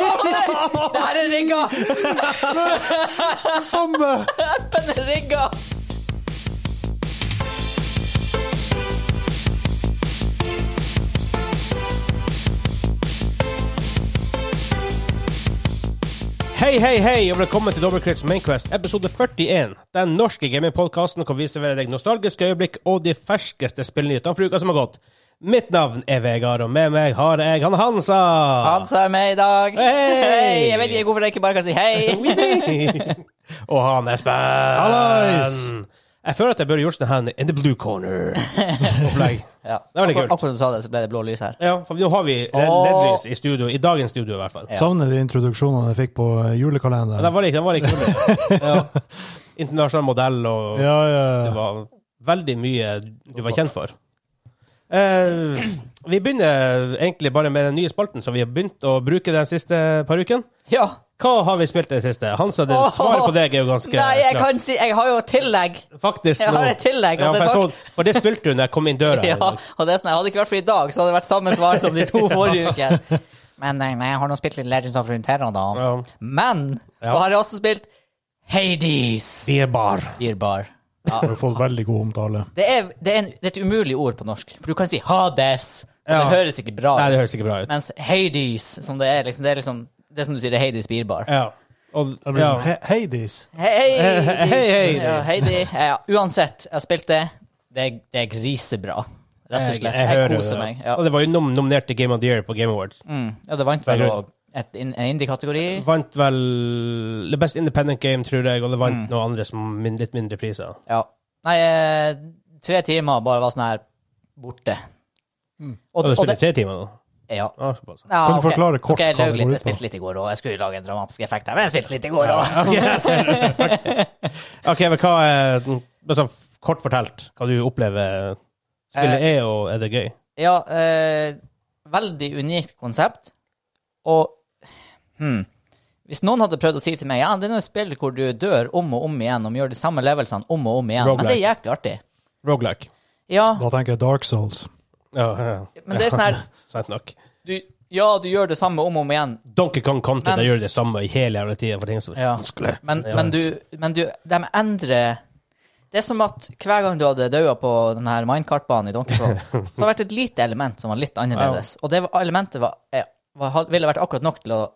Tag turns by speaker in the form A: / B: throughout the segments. A: her! Det her er rigga!
B: Som eh,
A: Appen er rigga!
C: Hei, hei, hei, og velkommen til Dobbelkrets Mainquest, episode 41. Den norske gamingpodkasten hvor vi serverer deg nostalgiske øyeblikk og de ferskeste spillnyhetene for uka som har gått. Mitt navn er Vegard, og med meg har jeg han Hansa.
A: Han som er med i dag.
C: Hei!
A: Jeg vet ikke hvorfor jeg ikke bare kan si hei.
C: og han Espen.
B: Hallois!
C: Jeg føler at jeg burde gjort sånn her in the blue corner-opplegg.
A: Ja.
C: Det er
A: Akkur-
C: veldig kult.
A: Akkurat som du sa det, så ble det blå lys her.
C: Ja, for nå har vi led-
A: Åh.
C: LED-lys i studio, i dagens studio i hvert fall.
A: Ja.
B: Savner de introduksjonene jeg fikk på eh,
C: Men den
B: julekalenderen.
C: var ikke, den var ikke ja. Internasjonal modell og
B: Ja, ja,
C: Det
B: ja.
C: var veldig mye du var kjent for. Eh, vi begynner egentlig bare med den nye spalten som vi har begynt å bruke den siste par ukene.
A: Ja.
C: Hva har vi spilt i det siste? Hansa, det,
A: Åh.
C: svaret på deg er jo ganske
A: Nei, jeg
C: klart.
A: kan si Jeg har jo et tillegg.
C: Faktisk
A: Jeg
C: nå.
A: har et tillegg. og
C: Ja, for,
A: det
C: jeg
A: er
C: så,
A: takk.
C: for det spilte du når jeg kom inn døra.
A: Ja, og det er sånn, jeg Hadde det ikke vært for i dag, så hadde det vært samme svar som de to forrige ukene. Men nei, nei, jeg har nå spilt litt Legends of Runeterra, da.
C: Ja.
A: Men så
C: Ja.
A: har jeg også spilt Hades.
C: Bierbar.
A: Beer bar.
B: Du har fått veldig god omtale.
A: Det er, det, er en, det er et umulig ord på norsk, for du kan si Hades. og
C: Ja.
A: Det høres ikke bra
C: Nei,
A: ut.
C: det høres ikke bra ut.
A: Mens Hades, som det er, liksom, det er liksom det er som du sier, det er Hades beer bar.
C: Ja. Og,
B: Det blir
C: ja.
B: sånn he Hades.
A: Hei,
C: He- he-
A: Hades.
C: hei, Hades.
A: Ja, Heidi. Ja, uansett, jeg har spilt det. Det er, det er grisebra. Rett og
C: Jeg,
A: slett.
C: jeg
A: Jeg,
C: hører
A: koser
C: det.
A: meg. Ja.
C: Og det var jo nom nominert til Game of the Year på Game Awards.
A: Mm. ja, det vant vel
C: Veldig.
A: òg et- en indie-kategori.
C: Vant vel The Best Independent Game, tror jeg, og det
A: Mm.
C: vant noen andre som min, litt mindre priser.
A: Ja. Nei, eh, tre timer bare var sånn her borte.
C: Og du spilte i tre timer nå?
A: ja.
C: Ja, såpass.
A: Ja,
B: Kan du
A: ok.
B: forklare
A: Ok,
B: kort
A: jeg
B: hva det
A: løy litt.
B: går ut
A: Jeg
B: på?
A: spilte litt i går òg. Jeg skulle lage en dramatisk effekt her, men jeg spilte litt i går òg.
C: Ok, jeg ser det. Ok, Ok, men hva er bare sånn Kort fortalt, hva du opplever eh, spillet
A: Eh.
C: er, og er det gøy?
A: Ja, eh, veldig unikt konsept. Og hmm, hvis noen hadde prøvd å si til meg ja, det er noe spill hvor du dør om og om igjen, og vi gjør de samme levelsene om og om igjen, men det er jæklig artig.
C: Rogelike.
A: Ja,
B: Da tenker jeg Dark Souls.
C: Ja, ja.
A: men det er sånn her
C: Sant nok.
A: du, Ja, du gjør det samme om og om igjen,
C: Donkey Kong Country,
A: Men-
C: det gjør det samme i hele jævla tida. For ting som
A: Ja.
C: vanskelig.
A: men,
C: Ja.
A: men, du, men du De endrer Det er som at hver gang du hadde daua på den her minecart-banen i Donkey Kong, så har det vært et lite element som var litt annerledes. Og det var- elementet var, er- var, ville vært akkurat nok til å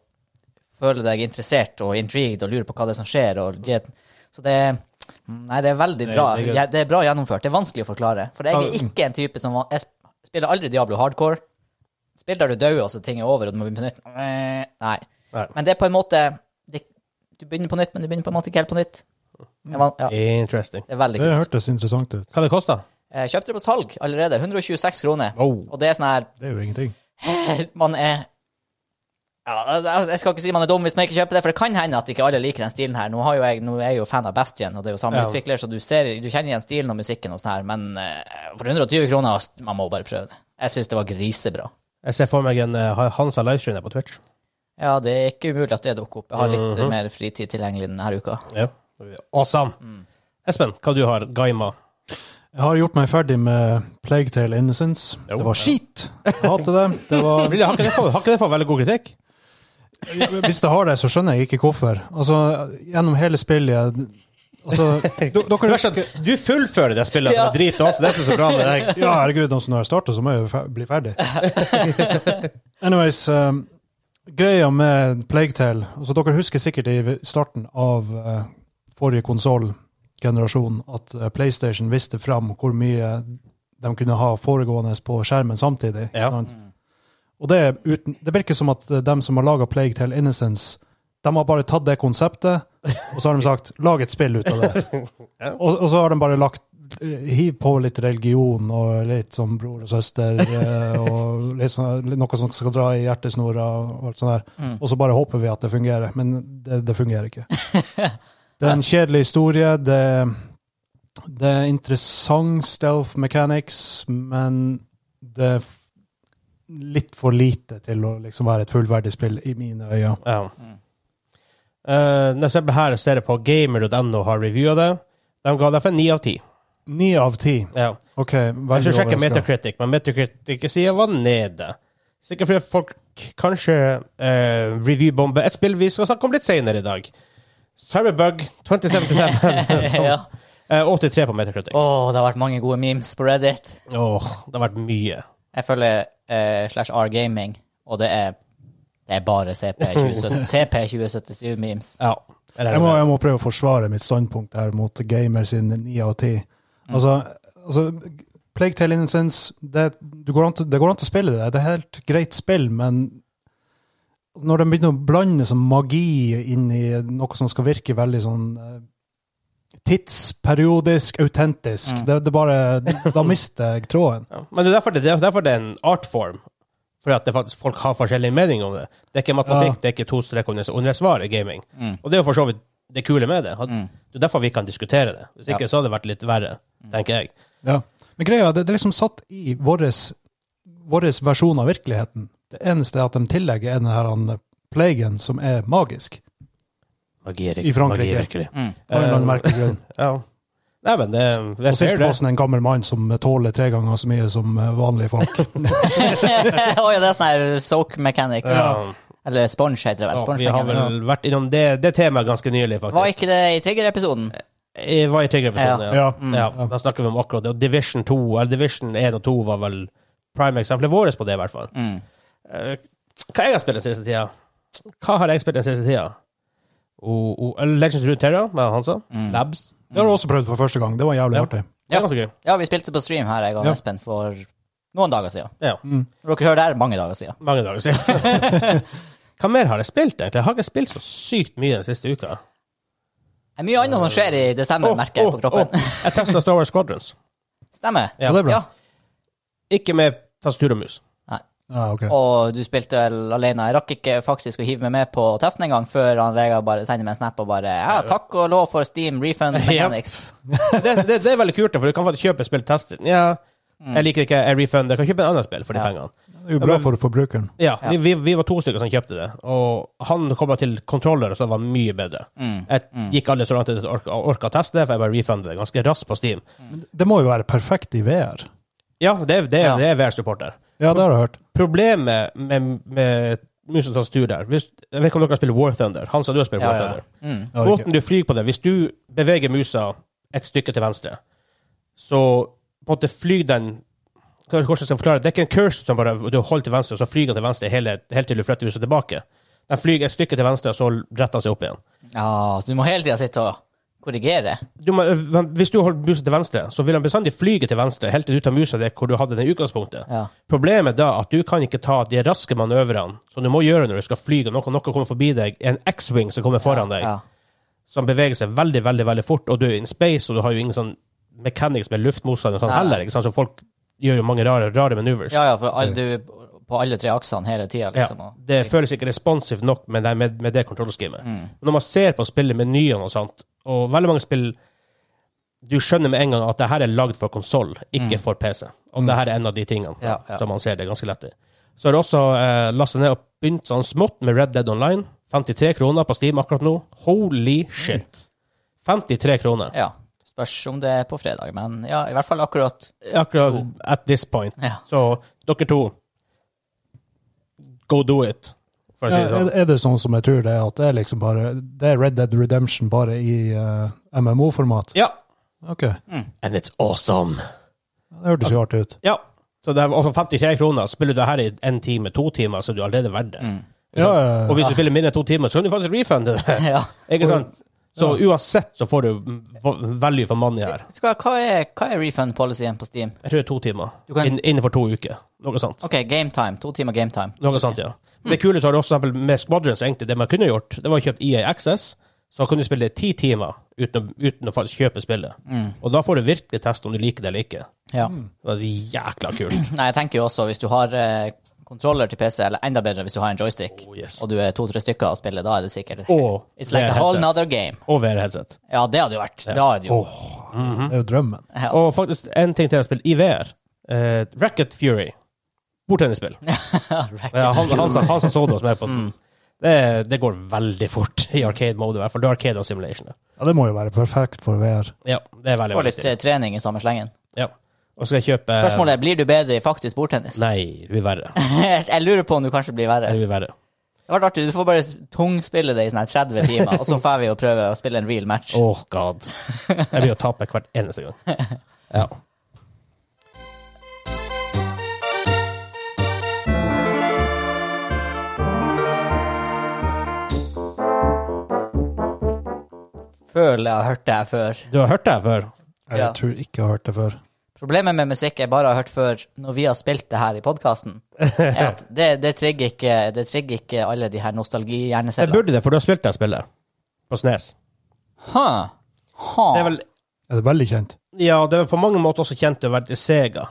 A: føle deg interessert og intrigued og lure på hva det er som skjer. Og det, så det Nei, det er veldig
C: Det-
A: bra.
C: det er
A: Det
C: gøy.
A: er, bra gjennomført. Det er vanskelig å forklare. For jeg er ikke en type som Jeg spiller aldri Diablo hardcore. Spiller der du dauer, og så ting er over, og du må begynne på nytt. Nei.
C: Nei.
A: Men det er på en måte det, Du begynner på nytt, men du begynner på en måte ikke helt på nytt. Jeg var- ja,
C: Interesting.
A: det er veldig
B: Det
A: kult.
B: hørtes interessant ut.
C: Hva det kosta?
A: Jeg kjøpte det på salg allerede. 126 kroner.
C: Oh.
A: Og det er sånn her
B: Det er jo ingenting.
A: Man er ja, altså, Jeg skal ikke si man er dum hvis man ikke kjøper det, for det kan hende at ikke alle liker den stilen her. Nå, har jo jeg, nå er jeg jo fan av Bastion, og det er jo samme
C: Ja.
A: utvikler, så du, ser, du kjenner igjen stilen og musikken og sånn her, men eh, for 120 kroner st- Man må bare prøve det. Jeg syns det var grisebra.
C: Jeg ser for meg en eh, Hansa livestream her på Twitch.
A: Ja, det er ikke umulig at det dukker opp. Jeg har litt
C: Mhm.
A: mer fritid tilgjengelig denne uka.
C: Ja. Awesome.
A: Mm.
C: Espen, hva du har Gaima?
B: Jeg har gjort meg ferdig med Plague Tale Innocence.
C: Jo.
B: Det var skit! Jeg hater det. det var,
C: Har ikke det fått, har ikke det fått veldig god kritikk?
B: hvis det har det, så skjønner jeg ikke hvorfor. Altså, gjennom hele spillet jeg, altså, d-
C: Det
B: dere
C: verste er
B: husker
C: at Du fullfører det spillet
A: Ja.
C: med drit også, det er så bra med deg.
B: Ja, herregud, altså, når jeg starter, så må jeg jo fe- bli ferdig. Anyways, um, greia med Plague Tale altså, Dere husker sikkert i starten av eh, forrige konsollgenerasjon at eh, PlayStation viste fram hvor mye de kunne ha foregående på skjermen samtidig.
C: Ja.
B: Sant? Og det, er uten, det virker som at eh, dem som har laga Plague Tale Innocence, de har bare tatt det konseptet, og så har de sagt 'lag et spill ut av det'.
C: Ja.
B: og, og så har de bare lagt eh, Hiv på litt religion og litt sånn bror og søster eh, og litt sånn, litt noe som skal dra i hjertesnora og alt sånt der.
A: Mm.
B: Og så bare håper vi at det fungerer, men det, det fungerer ikke. Det er en kjedelig historie. Det, det er interessant stealth mechanics, men det er f- litt for lite til å liksom være et fullverdig spill i mine øyne.
C: Ja.
A: Mm.
C: Eh, når jeg ser på her, så er det på gamer.no har reviewa det. De ga derfor 9 av 10.
B: Ni av ti.
C: Ja.
B: OK,
C: Jeg
B: veldig
C: skal sjekke
B: overraska.
C: Metacritic, men Metacritic-sida var nede. Sikkert fordi folk Cyberpunk, kanskje eh, Reviewbombe, et spill vi skal snakke om litt senere i dag. Cyberbug 2077. som,
A: ja.
C: eh, 83 på Metacritic.
A: Å, det har vært mange gode memes på Reddit.
C: Åh, det har vært mye.
A: Jeg følger eh, slash R Gaming, og det er, det er bare CP 2077 CP 2077-memes.
C: Ja. Jeg
B: Jeg
C: regner
B: må,
C: med.
B: jeg må prøve å forsvare mitt standpunkt her mot gamer sin 9 av 10. Altså, altså Plague Tale Innocence det, du går an, til- det går an til å spille det. Det er et helt greit spill, men når de begynner å blande sånn magi inn i noe som skal virke veldig sånn eh, tidsperiodisk, autentisk,
A: Mm.
B: det, det bare, da mister jeg tråden.
C: Ja. Men det er derfor det, det er derfor det er en artform. Fordi at det faktisk, folk har forskjellig mening om det. Det er ikke matematikk,
B: Ja.
C: det er ikke to streker under, under svaret, gaming.
A: Mm.
C: Og det er jo for så vidt det kule med det. At,
A: Mm.
C: Det er derfor vi kan diskutere det. Hvis
A: Ja.
C: ikke så hadde det vært litt verre, tenker jeg.
B: Ja. Men greia, det, det er liksom satt i våres, våres versjon av virkeligheten. Det eneste er at de tillegger er den her han, plagen som er magisk.
C: Magi er
B: I Frankrike.
C: Magi er virkelig.
A: Mm.
B: Av en eller annen merkelig grunn.
C: Ja. Nei, men det, det,
B: Og siste bossen er en gammel mann som tåler tre ganger så mye som eh, vanlige folk.
A: Å ja, det er sånn her soak mechanics.
C: Ja.
A: Eller sponge, heter det vel.
C: Ja,
A: Sponge
C: vi har
A: mechanics.
C: vel vært innom det, det temaet ganske nylig, faktisk.
A: Var ikke det i Trigger-episoden?
C: Jeg var i Trigger-episoden, ja.
B: Ja.
A: Mm.
C: Ja, Da snakker vi om akkurat det. Og Division 2, eller Division 1 og 2 var vel prime eksempelet vårt på det, i hvert fall.
A: Mm.
C: Eh, Hva jeg har spilt den siste tida? Hva har jeg spilt den siste tida? O, o, Legends of Terra, hva han sa?
A: Mm.
C: Labs.
B: Det har du også prøvd for første gang. Det var jævlig
C: Ja.
B: artig.
C: Det
A: Ja.
C: er ganske gøy.
A: Ja, vi spilte på stream her, jeg og
B: Ja.
A: Espen, for noen dager siden.
C: Ja.
B: Mm.
A: Når dere hører det her, mange dager siden.
C: Mange dager siden. Hva mer har jeg spilt, egentlig? Jeg har ikke spilt så sykt mye den siste uka.
A: Det er mye annet som skjer i desember,
C: Åh,
A: merker jeg på
C: åh,
A: kroppen.
C: åh. Jeg testa Star Wars Squadrons.
A: Stemmer.
C: Ja.
B: det er bra.
A: Ja.
C: Ikke med tastatur og mus.
B: Ja, ok.
A: Og du spilte vel alene. Jeg rakk ikke faktisk å hive meg med på testen engang før han Vegard bare sender meg en snap og bare Ja, takk og lov for Steam refund
C: Ja.
A: mechanics.
C: det, det, det er veldig kult, for du kan faktisk kjøpe spill testet. Ja, jeg liker ikke jeg refund. Jeg kan kjøpe en annen spill for de
A: Ja.
C: pengene.
B: Det er jo bra for forbrukeren.
C: Ja,
A: Ja.
C: Vi, vi, vi var to stykker som kjøpte det, og han kom da til kontroller, så det var mye bedre.
A: Mm.
C: Jeg gikk aldri så langt at jeg orka, orka å teste det, for jeg bare refundet det ganske raskt på Steam.
B: Det må jo være perfekt i VR.
C: Ja, det, er- det,
A: Ja.
C: er- det er VR-supporter.
B: Ja, det har jeg hørt.
C: Problemet med, med mus og tastatur der hvis, Jeg vet ikke om dere har spilt War Thunder. Han sa du har spilt
A: Ja,
C: War
A: ja.
C: Thunder.
A: Mm.
B: Jeg har ikke.
C: Måten du flyr på det Hvis du beveger musa et stykke til venstre, så på en måte flyr den Hvordan skal jeg forklare det? Det er ikke en curse som bare du holder til venstre, og så flyr den til venstre hele, helt til du flytter musa tilbake. Den flyr et stykke til venstre, og så retter den seg opp igjen.
A: Ja, så du må hele tida sitte og korrigere.
C: Du må, hvis du holder musa til venstre, så vil den bestandig flyge til venstre helt til du tar musa der hvor du hadde den i utgangspunktet.
A: Ja.
C: Problemet da er at du kan ikke ta de raske manøvrene som du må gjøre når du skal fly, og noe, noe kommer forbi deg, en X-wing som kommer foran deg.
A: Ja.
C: som beveger seg veldig, veldig veldig fort, og du er in space, og du har jo ingen sånn mechanics med luftmotstand og sånn
A: Nei.
C: heller, ikke sant? så folk gjør jo mange rare, rare maneuvers.
A: ja, ja, for all, du på alle tre aksene hele tida,
C: Ja,
A: liksom. og-
C: Det føles ikke responsive nok med det, med, med det kontrollskimet.
A: Mm.
C: Når man ser på spillemenyene og sånt, og veldig mange spill Du skjønner med en gang at det her er lagd for konsoll, ikke for PC. Og det her er en av de tingene
A: Mm. Ja, ja.
C: som man ser det ganske lett i. Så har det også eh, lastet ned og begynt sånn smått med Red Dead Online. 53 kroner på Steam akkurat nå. Holy shit! 53 kroner.
A: Ja. Spørs om det er på fredag, men ja, i hvert fall akkurat.
C: akkurat at this point.
A: Ja.
C: Så dere to, go do it, for å
B: Ja,
C: si det
B: er,
C: sånn.
B: er det sånn som jeg tror det er, at det er liksom bare Det er Red Dead Redemption bare i eh, MMO-format?
C: Ja. Altså,
B: Ok.
C: And it's awesome.
B: Det hørtes jo artig ut.
C: Ja. Så det er også 53 kroner. Spiller du det her i en time, to timer, så er du allerede verdt det. Ikke sant?
B: Ja, ja, ja.
C: altså, Og hvis du spiller mindre enn to timer, så kan du faktisk refunde det.
A: Ja.
C: Ikke sant? Så uansett så får du v- value for money her.
A: Vet du Hva, hva, er, hva er refund policyen på Steam?
C: Jeg tror det er to timer.
A: Du kan-
C: Inn- innenfor to uker. Noe sånt.
A: OK, game time. To timer game time.
C: Noe sånt, ja. Det kule så har du også eksempel med Squadrons, egentlig, det man kunne gjort, det var å kjøpe EA Access, så kunne du spille ti timer uten, å- uten å faktisk kjøpe spillet.
A: Mm.
C: Og da får du virkelig teste om du liker det eller ikke.
A: Ja.
C: Det er jækla kult.
A: Nei, jeg tenker jo også, hvis du har eh, kontroller til PC, eller enda bedre hvis du har en joystick,
C: Oh, yes. Oh,
A: og du er to-tre stykker og spiller, da er det sikkert
C: Og
A: It's like a whole
C: VR-headset.
A: nother game.
C: Og VR-headset.
A: Ja, det hadde jo vært Da hadde
C: Oh.
A: jo
B: Det er jo drømmen.
A: Ja.
C: Og faktisk en ting til å spille i VR. Eh, Racket Fury. Bordtennisspill. Ja, han, han, som- han som så det hos meg på
A: Mm.
C: det, det går veldig fort i arcade-mode, i hvert fall. Det er arcade og simulation.
B: Ja, det må jo være perfekt for VR.
C: Ja, det er veldig,
A: Få
C: veldig
A: litt eh,
C: stilig.
A: trening i samme slengen.
C: Ja. Og så skal jeg kjøpe
A: Spørsmålet er, blir du bedre i faktisk bordtennis?
C: Eh. Nei, det blir verre.
A: jeg lurer på om du kanskje blir verre.
C: Det blir verre.
A: Det var artig, du får bare tungspille det i sånne her 30 timer, og så får vi jo prøve å spille en real match.
C: Åh, god. Jeg blir å tape hvert eneste gang. Ja.
A: Føler jeg har hørt det her før.
C: Du har hørt det her før?
B: Jeg
A: Ja.
B: tror ikke jeg har hørt det før.
A: Problemet med musikk jeg bare har hørt før når vi har spilt det her i podkasten, er at det, det, trigger ikke, det trigger ikke alle de her
C: Jeg
A: nostalgihjernecellene.
C: burde det, for du har spilt det her spillet. På Snes.
A: Huh. Huh.
C: Det er vel
B: Er det veldig kjent?
C: Ja, det er vel på mange måter også kjent til å være til Sega,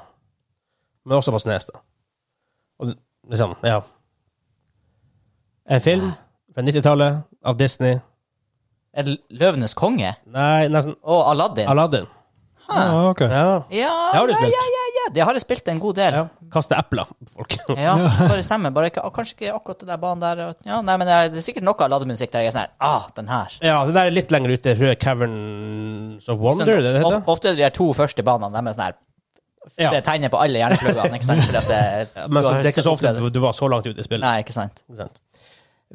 C: men også på Snes, da. Og det- liksom, ja. En film fra 90-tallet av Disney.
A: Er det Løvenes konge?
C: Nei, nesten
A: Og Aladdin?
C: Aladdin.
A: Huh.
B: Ah, ok.
C: Ja.
A: Ja,
C: Det har du
A: ja,
C: spilt.
A: ja, ja, ja. Det har jeg spilt en god del.
C: ja. Kaste epler på folk.
A: Ja, bare stemmer. Bare ikke, kanskje ikke akkurat den der banen der. og- Ja, nei, men det er, det er sikkert noe Aladdin-musikk der jeg er sånn her Ah, den her.
C: Ja, det der er litt lenger ute. Røde Caverns of Wonder, det det heter?
A: Of- Ofte er de her to første banene de er sånn her
C: Ja.
A: Det tegner på alle hjernepluggene, ikke sant? Fordi at det,
C: Men
A: du
C: så,
A: har
C: det er ikke så ofte
A: sett
C: du,
A: opplevet-
C: du var så langt ute i spillet.
A: Nei, ikke sant.
C: Ikke sant?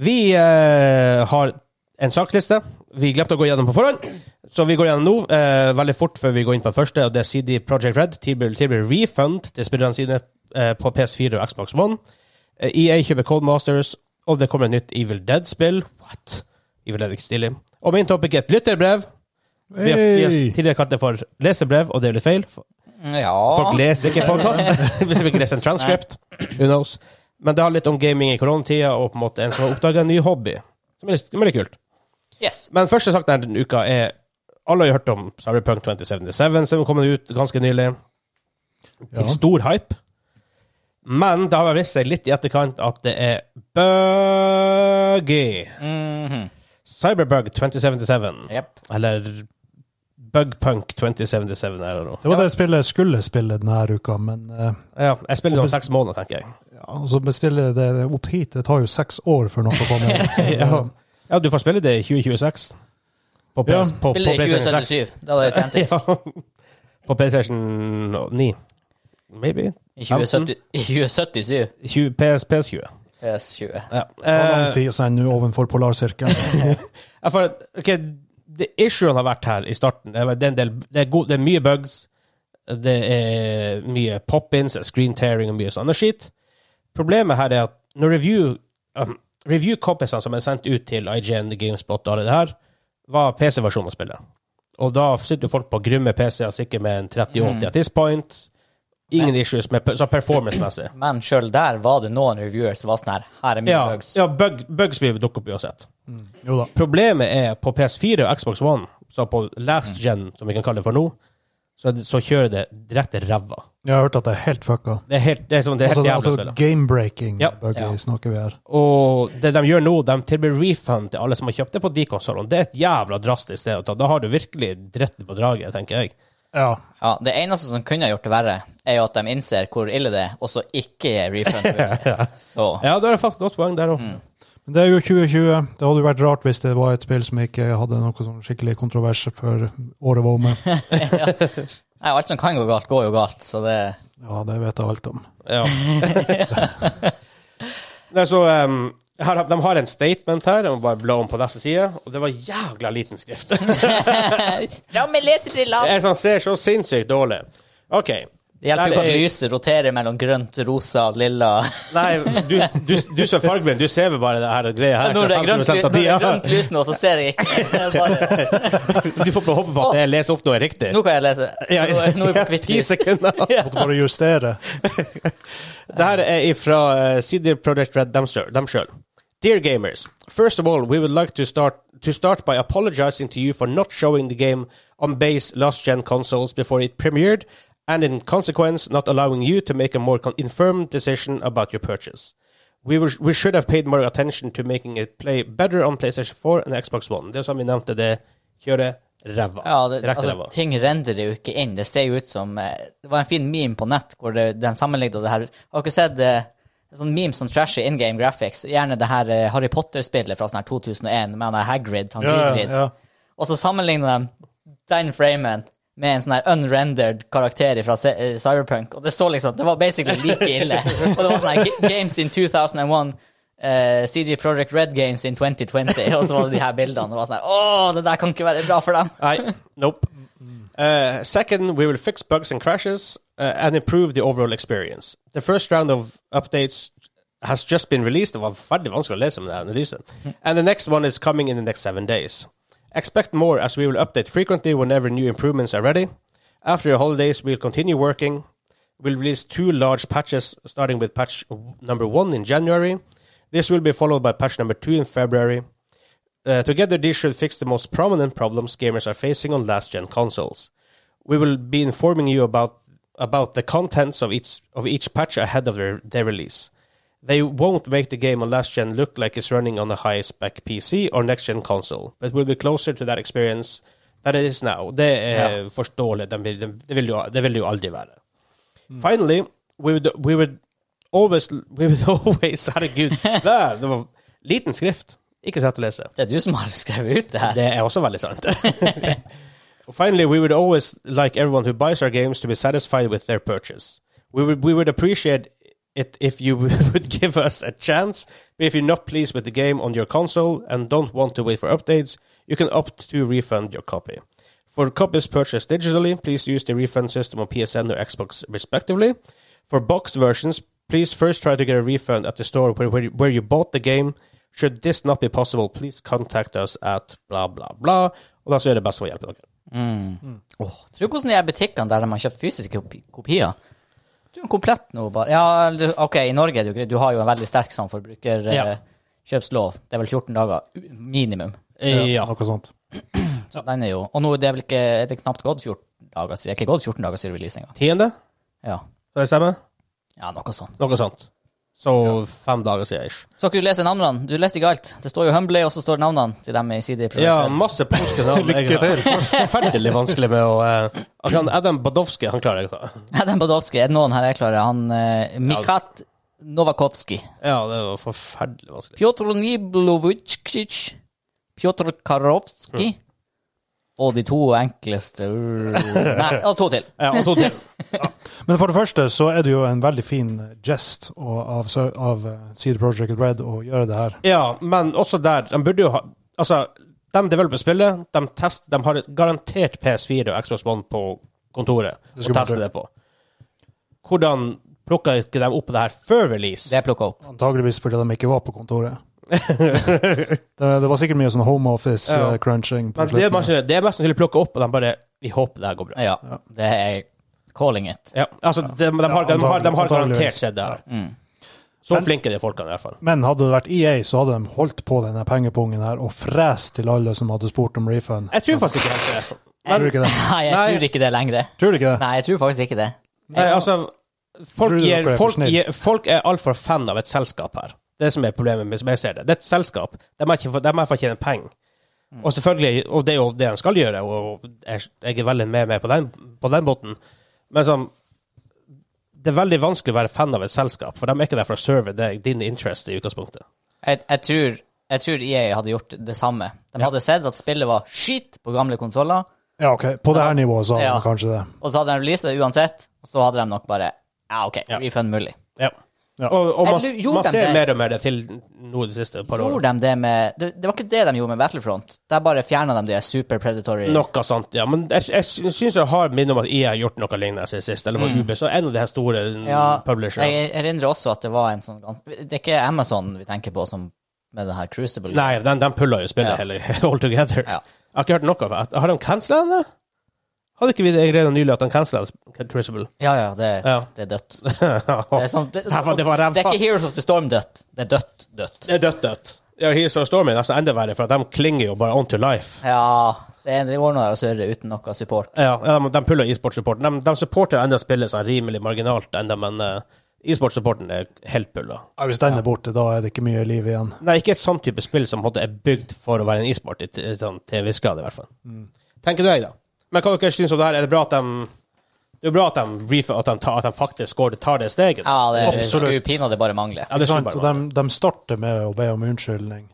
C: Vi eh, har en saksliste. Vi glemte å gå gjennom på forhånd, så vi går gjennom nå eh, veldig fort før vi går inn på den første. og Det er CD Project Red tilbyr, tilbyr refund til spillerne sine eh, på PS4 og Xbox One. Eh, EA kjøper Cold Masters, og det kommer et nytt Evil Dead-spill. What? Evil Dead er ikke stilig. Og min topic er et lytterbrev. Vi har, vi har
B: Hey!
C: tidligere kalt det for lesebrev, og det er litt feil. Folk
A: Ja.
C: leser ikke podkast. Hvis de ikke leser en transcript. Who knows. Men det har litt om gaming i koronatida, og på en måte en som har oppdaga en ny hobby. Som er litt, som er litt kult.
A: Yes.
C: Men første sak denne uka er Alle har hørt om Cyberpunk 2077, som kom ut ganske nylig. Til
B: Ja.
C: stor hype. Men det har vel vist seg litt i etterkant at det er buggy.
A: Mhm.
C: Cyberbug 2077.
A: Jep.
C: Eller Bugpunk 2077, eller noe.
B: Det var det spillet jeg skulle spille denne uka, men eh,
C: Ja, jeg spiller det om seks måneder, tenker jeg.
B: ja, og så bestille det opp hit. Det tar jo seks år før noe kommer. ut. Så,
C: Ja. Ja, du får spille det i 2026. På, PS,
B: Ja.
C: på, på
A: Spiller i
C: PlayStation 6.
A: 2077. Da hadde jeg tjent det.
C: Ja. På PlayStation 9. Maybe.
A: I 2070 i 2077.
C: 20, PS, PS20.
A: PS20.
C: Ja.
B: Det var lang
C: Eh,
B: tid å sende nå ovenfor polarsirkelen.
C: ja, for, ok, det Issuen har vært her i starten. Det er- Det er, en del, det er, god, det er mye bugs. Det er mye pop-ins, screen tearing og mye sånn skit. Problemet her er at når review um, review-kompisene som er sendt ut til IGN, GameSpot og alle det her, var PC-versjonen av spillet. Og da sitter jo folk på grumme PC-er, sikkert med en 3080 at this point. Ingen issues med så performance-messig.
A: Men sjøl der var det noen reviewers som var sånn her Her er mine
C: Ja,
A: bugs.
C: ja bug, bugs vil dukke opp uansett.
B: Jo da.
C: Problemet er på PS4 og Xbox One, så på last
A: Mm.
C: gen, som vi kan kalle det for nå, så, er det- så kjører det direkte ræva.
B: Jeg har hørt at det er helt fucka.
C: Det er helt, det er sånn, det er
B: Altså,
C: helt
B: det er
C: jævlig å
B: altså
C: spille.
B: game-breaking
C: Ja.
B: buggy
A: Ja.
B: snakker vi her.
C: Og det de gjør nå, de tilbyr refund til alle som har kjøpt det på de konsollene. Det er et jævla drastisk sted å ta. Da har du virkelig dritt på draget, tenker jeg.
B: Ja.
A: Ja, det eneste som kunne ha gjort det verre, er jo at de innser hvor ille det er, og så ikke gir refund. mulighet. Så
C: Ja, da er det faktisk et godt poeng der òg.
A: Mm.
B: Men det er jo 2020. Det hadde jo vært rart hvis det var et spill som ikke hadde noe sånn skikkelig kontrovers før året var omme.
A: Nei, alt som kan gå galt, går jo galt, så det
B: Ja, det vet jeg alt om.
C: Ja. Nei, så um, her, har- De har en statement her, jeg må bare bla om på neste side, og det var jævla liten skrift.
A: Fram med lesebrillene!
C: Jeg sånn, ser så sinnssykt dårlig. OK.
A: Det hjelper jo ikke
C: Der
A: at
C: er-
A: lyset roterer mellom grønt, rosa og lilla.
C: Nei, du, du, du som er fargeblind, du ser vel bare det her greia her.
A: Når det er
C: 50%
A: grønt, ly-
C: av
A: når det
C: tida.
A: er grønt lys nå, så ser jeg ikke. Det er bare-
C: Du får bare håpe på at det jeg leser opp noe er riktig.
A: Nå kan jeg lese.
C: Ja,
A: Nå er- nå er vi på hvitt
C: ti
A: lys.
C: sekunder.
B: Måtte bare justere.
C: Det her er ifra eh, CD Projekt Red dem sjøl. Dem sjøl. Dear gamers, first of all, we would like to start to start by apologizing to you for not showing the game on base last gen consoles before it premiered, and in consequence, not allowing you to make a more con- informed decision about your purchase. We, were, we should have paid more attention to making it play better on PlayStation 4 and Xbox One. Det er som vi nevnte, det kjører ræva.
A: Ja, det,
C: Direkte
A: altså,
C: ræva.
A: ting renderer jo ikke inn. Det ser jo ut som eh, Det var en fin meme på nett hvor det, de sammenligna det her Har dere sett eh, en sånn meme som trasher in game graphics? Gjerne det her eh, Harry Potter-spillet fra sånn her 2001 med han der Hagrid, han
B: Ja,
A: Gygrid.
B: ja.
A: Og så sammenligner de den framen med en sånn her unrendered karakter fra eh, Cyberpunk, og det så liksom Det var basically like ille. Og det var sånn her G- Games in 2001, eh, CG Project Red Games in 2020, og så var det de her bildene. Og det var sånn her Å, det der kan ikke være bra for dem.
C: Nei, nope. Uh, second, we will fix bugs and crashes uh, and improve the overall experience. The first round of updates has just been released. Det var forferdelig vanskelig å lese om denne analysen. And the next one is coming in the next seven days. Expect more as we will update frequently whenever new improvements are ready. After your holidays, we'll continue working. We'll release two large patches, starting with patch number one in January. This will be followed by patch number two in February. Uh, together, these should fix the most prominent problems gamers are facing on last-gen consoles. We will be informing you about about the contents of each of each patch ahead of their, their release. They won't make the game on last-gen look like it's running on a high-spec PC or next-gen console, but we'll be closer to that experience than it is now. Det er forståelig. Det vil, det, vil jo, det vil jo aldri være. Finally, we would, we would always we would always Herregud. Der, det var liten skrift. Ikke så lett å lese.
A: Det er du som har skrevet ut det her.
C: Det er også veldig sant. Finally, we would always like everyone who buys our games to be satisfied with their purchase. We would, we would appreciate it if you would give us a chance, but if you're not pleased with the game on your console and don't want to wait for updates, you can opt to refund your copy. For copies purchased digitally, please use the refund system on PSN or Xbox respectively. For boxed versions, please first try to get a refund at the store where, where, you- where you bought the game. Should this not be possible, please contact us at bla, bla, bla. Og da så er det best å hjelpe dere.
A: Åh, tror du hvordan de er butikkene der de har kjøpt fysiske kopi- kopier? Du er komplett nå, bare. Ja, du- ok, i Norge er det jo greit. Du har jo en veldig sterk sånn
C: Ja.
A: forbrukerkjøpslov. Det er vel 14 dager u- minimum.
C: Ja.
B: Noe sånt.
A: Så den er jo Og nå er det vel ikke er det knapt gått 14 dager siden. Det er ikke gått 14 dager siden release engang.
C: Tiende,
A: Ja.
C: skal det stemme?
A: ja, noe sånt.
C: Noe sånt. Så fem dager siden ish.
A: Så kan du lese navnene. Du leste ikke alt. Det står jo Humbly, og så står navnene til dem i CD Projekt.
C: Ja, masse polske navn.
B: Lykke
C: Jeg har Forferdelig vanskelig med å eh, han Adam Badowski, han klarer jeg å ta.
A: Adam Badowski. Er det noen her jeg klarer? Han eh, Mikat Novakovskij.
C: Ja, det var forferdelig vanskelig.
A: Pjotr Niblovitsjkic, Pjotr Karovski og de to enkleste uh, Nei, og to til.
C: Ja, og to til.
B: Men for det første så er det jo en veldig fin eh, gest å- av, Sø- av eh, CD Projekt Red å gjøre det her.
C: Ja, men også der, de burde jo ha Altså, de developer spillet, de tester De har et garantert PS4 og Xbox One på kontoret og
B: skulle man
C: tester
B: tro.
C: det på. Hvordan plukka ikke de opp det her før release?
A: Det er plukka opp.
B: Antageligvis fordi de ikke var på kontoret. det, det var sikkert mye sånn home
C: Ja.
B: office-crunching.
C: Men det er, mest, det er mest sannsynlig plukka opp, og de bare Vi håper det her går bra.
A: Ja, det er calling it.
C: Ja, altså, de, de, har, de, har, de, har,
B: antagelig-
C: garantert
B: antageligvis.
C: sett det her.
A: Mm.
C: Så
B: Men-
C: flinke de folkene, i hvert fall.
B: Men hadde det vært EA, så hadde de holdt på denne pengepungen her og frest til alle som hadde spurt om refund.
C: Jeg tror faktisk ikke helt det.
B: Tror du ikke det?
A: Nei, jeg
C: Nei.
A: tror ikke det lenger.
B: Tror du ikke det?
A: Nei, jeg tror faktisk ikke det.
C: Nei, altså, folk,
B: Tror du
C: gir,
B: dere er for
C: folk,
B: snill?
C: gir, folk er altfor fan av et selskap her. Det er det som er problemet, med- som jeg ser det. Det er et selskap. De er ikke for, de er for å tjene penger. Og selvfølgelig, og det er jo det de skal gjøre, og jeg, jeg er veldig med, med på, den, på den båten. Men sånn, det er veldig vanskelig å være fan av et selskap, for de er ikke der for å serve deg, din interest i utgangspunktet.
A: Jeg, jeg, tror, jeg tror EA hadde gjort det samme. De hadde sett at spillet var skit på gamle konsoller,
B: Ja, OK. På det her nivået så hadde
A: Ja.
B: de kanskje det.
A: og så hadde de releaset det uansett, og så hadde de nok bare Ja, OK,
C: Ja.
A: refund mulig.
C: Ja.
B: Ja.
C: Og, og man,
A: Eller gjorde
C: man
A: de
C: ser
A: det?
C: mer og mer det til nå de siste par årene.
A: Gjorde de det med Det, det var ikke det de gjorde med Battlefront. Der bare fjerna de det super predatory
C: Noe sånt, ja. Men jeg, jeg sy- syns jeg har minne om at jeg har gjort noe lignende siden sist. Eller var Ubisoft en av de her store
A: Mm.
C: mm,
A: Ja,
C: publisherne.
A: Jeg erindrer også at det var en sånn gans- Det er ikke Amazon vi tenker på som med det her Crucible.
C: Nei, de, de puller jo spillet
A: Ja.
C: heller, all together.
A: Ja.
C: Jeg har ikke hørt noe fra Har de cancela den? da? Hadde ikke vi det greia nylig at de cancela Crucible?
A: Ja, ja, det,
C: Ja.
A: det er dødt.
C: det,
A: Det er, sånn, det,
C: var- det var ræva.
A: det er ikke Heroes of the Storm dødt. Det er dødt, dødt.
C: er dødt, dødt. Ja, Heroes of Storm er nesten enda verre, for at de klinger jo bare on to life.
A: Ja, det er det går nå der og surrer uten noe support.
C: Ja, ja, de, de puller e-sportsupporten. De, de supporter enda spillet sånn rimelig marginalt enda, men eh, e-sportsupporten er helt pulla.
B: Ja, Hvis den er borte, da er det ikke mye liv igjen.
C: Nei, ikke et sånn type spill som på en måte er bygd for å være en e-sport, i t- sånn, til en viss grad i hvert fall. Tenker du deg, da? Men hva dere synes om det her? Er det bra at de Det er jo bra at de, reefer, at de, tar, at de faktisk går, tar det steget?
A: Ja, det er-
B: Absolutt.
A: skulle pinadø bare mangle.
C: Ja, det
B: Sant?
C: skulle bare
B: Og
C: være.
B: de, de starter med å be om unnskyldning.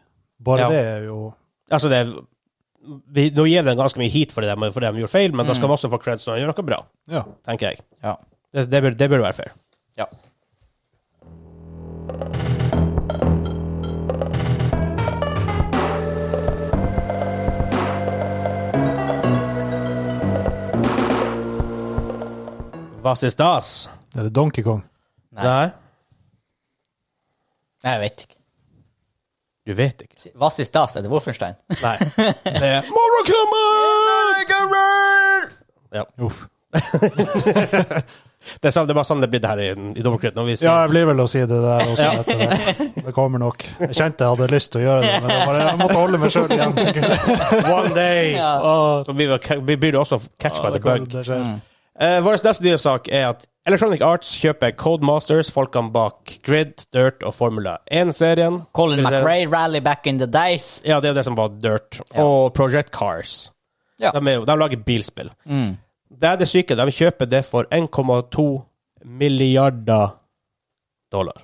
B: Bare
C: Ja.
B: det er jo
C: Altså, det er vi, Nå gir den ganske mye heat for det, de- for det de gjorde feil, men da
A: Mm.
C: skal de også få creds når de gjør noe bra,
B: Ja.
C: tenker jeg.
A: Ja.
C: Det, det, bør, det bør være fair.
A: ja.
C: Was is das?
B: Er det Donkey Kong?
A: Nei. Nei, jeg vet ikke.
C: Du vet ikke.
A: Hva i stas? Er det Wolfenstein?
C: Nei. Det er Morrow Ja.
B: Uff.
C: Det er, sånn, det er bare sånn det blir det her i, i Dommerkreten. og vi sier-
B: Ja, jeg blir vel å si det der også. etter hvert. Det kommer nok. Jeg kjente jeg hadde lyst til å gjøre det, men jeg, bare, jeg måtte holde meg sjøl igjen.
C: One day!
A: Ja.
B: Åh,
C: Så blir, det- blir det også catch by
B: det
C: the
B: kan-
C: bug.
B: det skjer.
C: Eh, vår neste nye sak er at Electronic Arts kjøper Codemasters, folkene bak Grid, Dirt og Formula 1-serien.
A: Colin McRae, Rally Back in the Days.
C: Ja, det er jo det som var Dirt.
A: Ja.
C: Og Project Cars.
A: Ja. Mm.
C: De, er, jo- de lager bilspill. Det er det syke. De kjøper det for 1,2 milliarder dollar.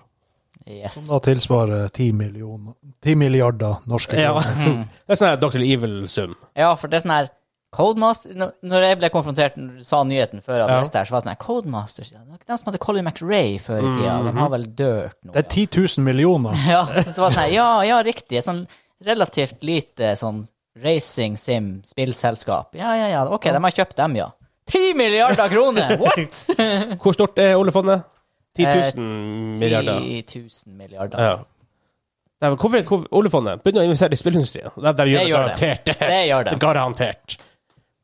A: Yes.
B: Da tilsvarer 10, millioner, 10 milliarder norske
C: Ja.
B: kroner.
C: det er sånn her Dr. Evil-sum.
A: Ja, for det er sånn her Codemaster Når når jeg ble konfrontert Når du sa nyheten før jeg
C: Ja.
A: leste her, så var det sånn her Codemasters ja, Det var ikke de som hadde Colin McRae før i tida.
C: Mhm.
A: De har vel dørt nå.
B: Det er 10 000 millioner.
A: Ja, så så var det sånn her Ja, ja, riktig. Et sånn relativt lite sånn racing sim spillselskap. Ja, ja, ja. OK, de har kjøpt dem, ja. Ti milliarder kroner! What?!
C: Hvor stort er oljefondet? 10
A: Eh,
C: 000 milliarder.
A: 10 000 milliarder.
C: Ja. Nei, men Hvorfor, hvorfor oljefondet begynner å investere i spillindustrien? De, de
A: Det
C: gjør det
A: gjør
C: garantert.
A: det. Det gjør det.
C: Garantert.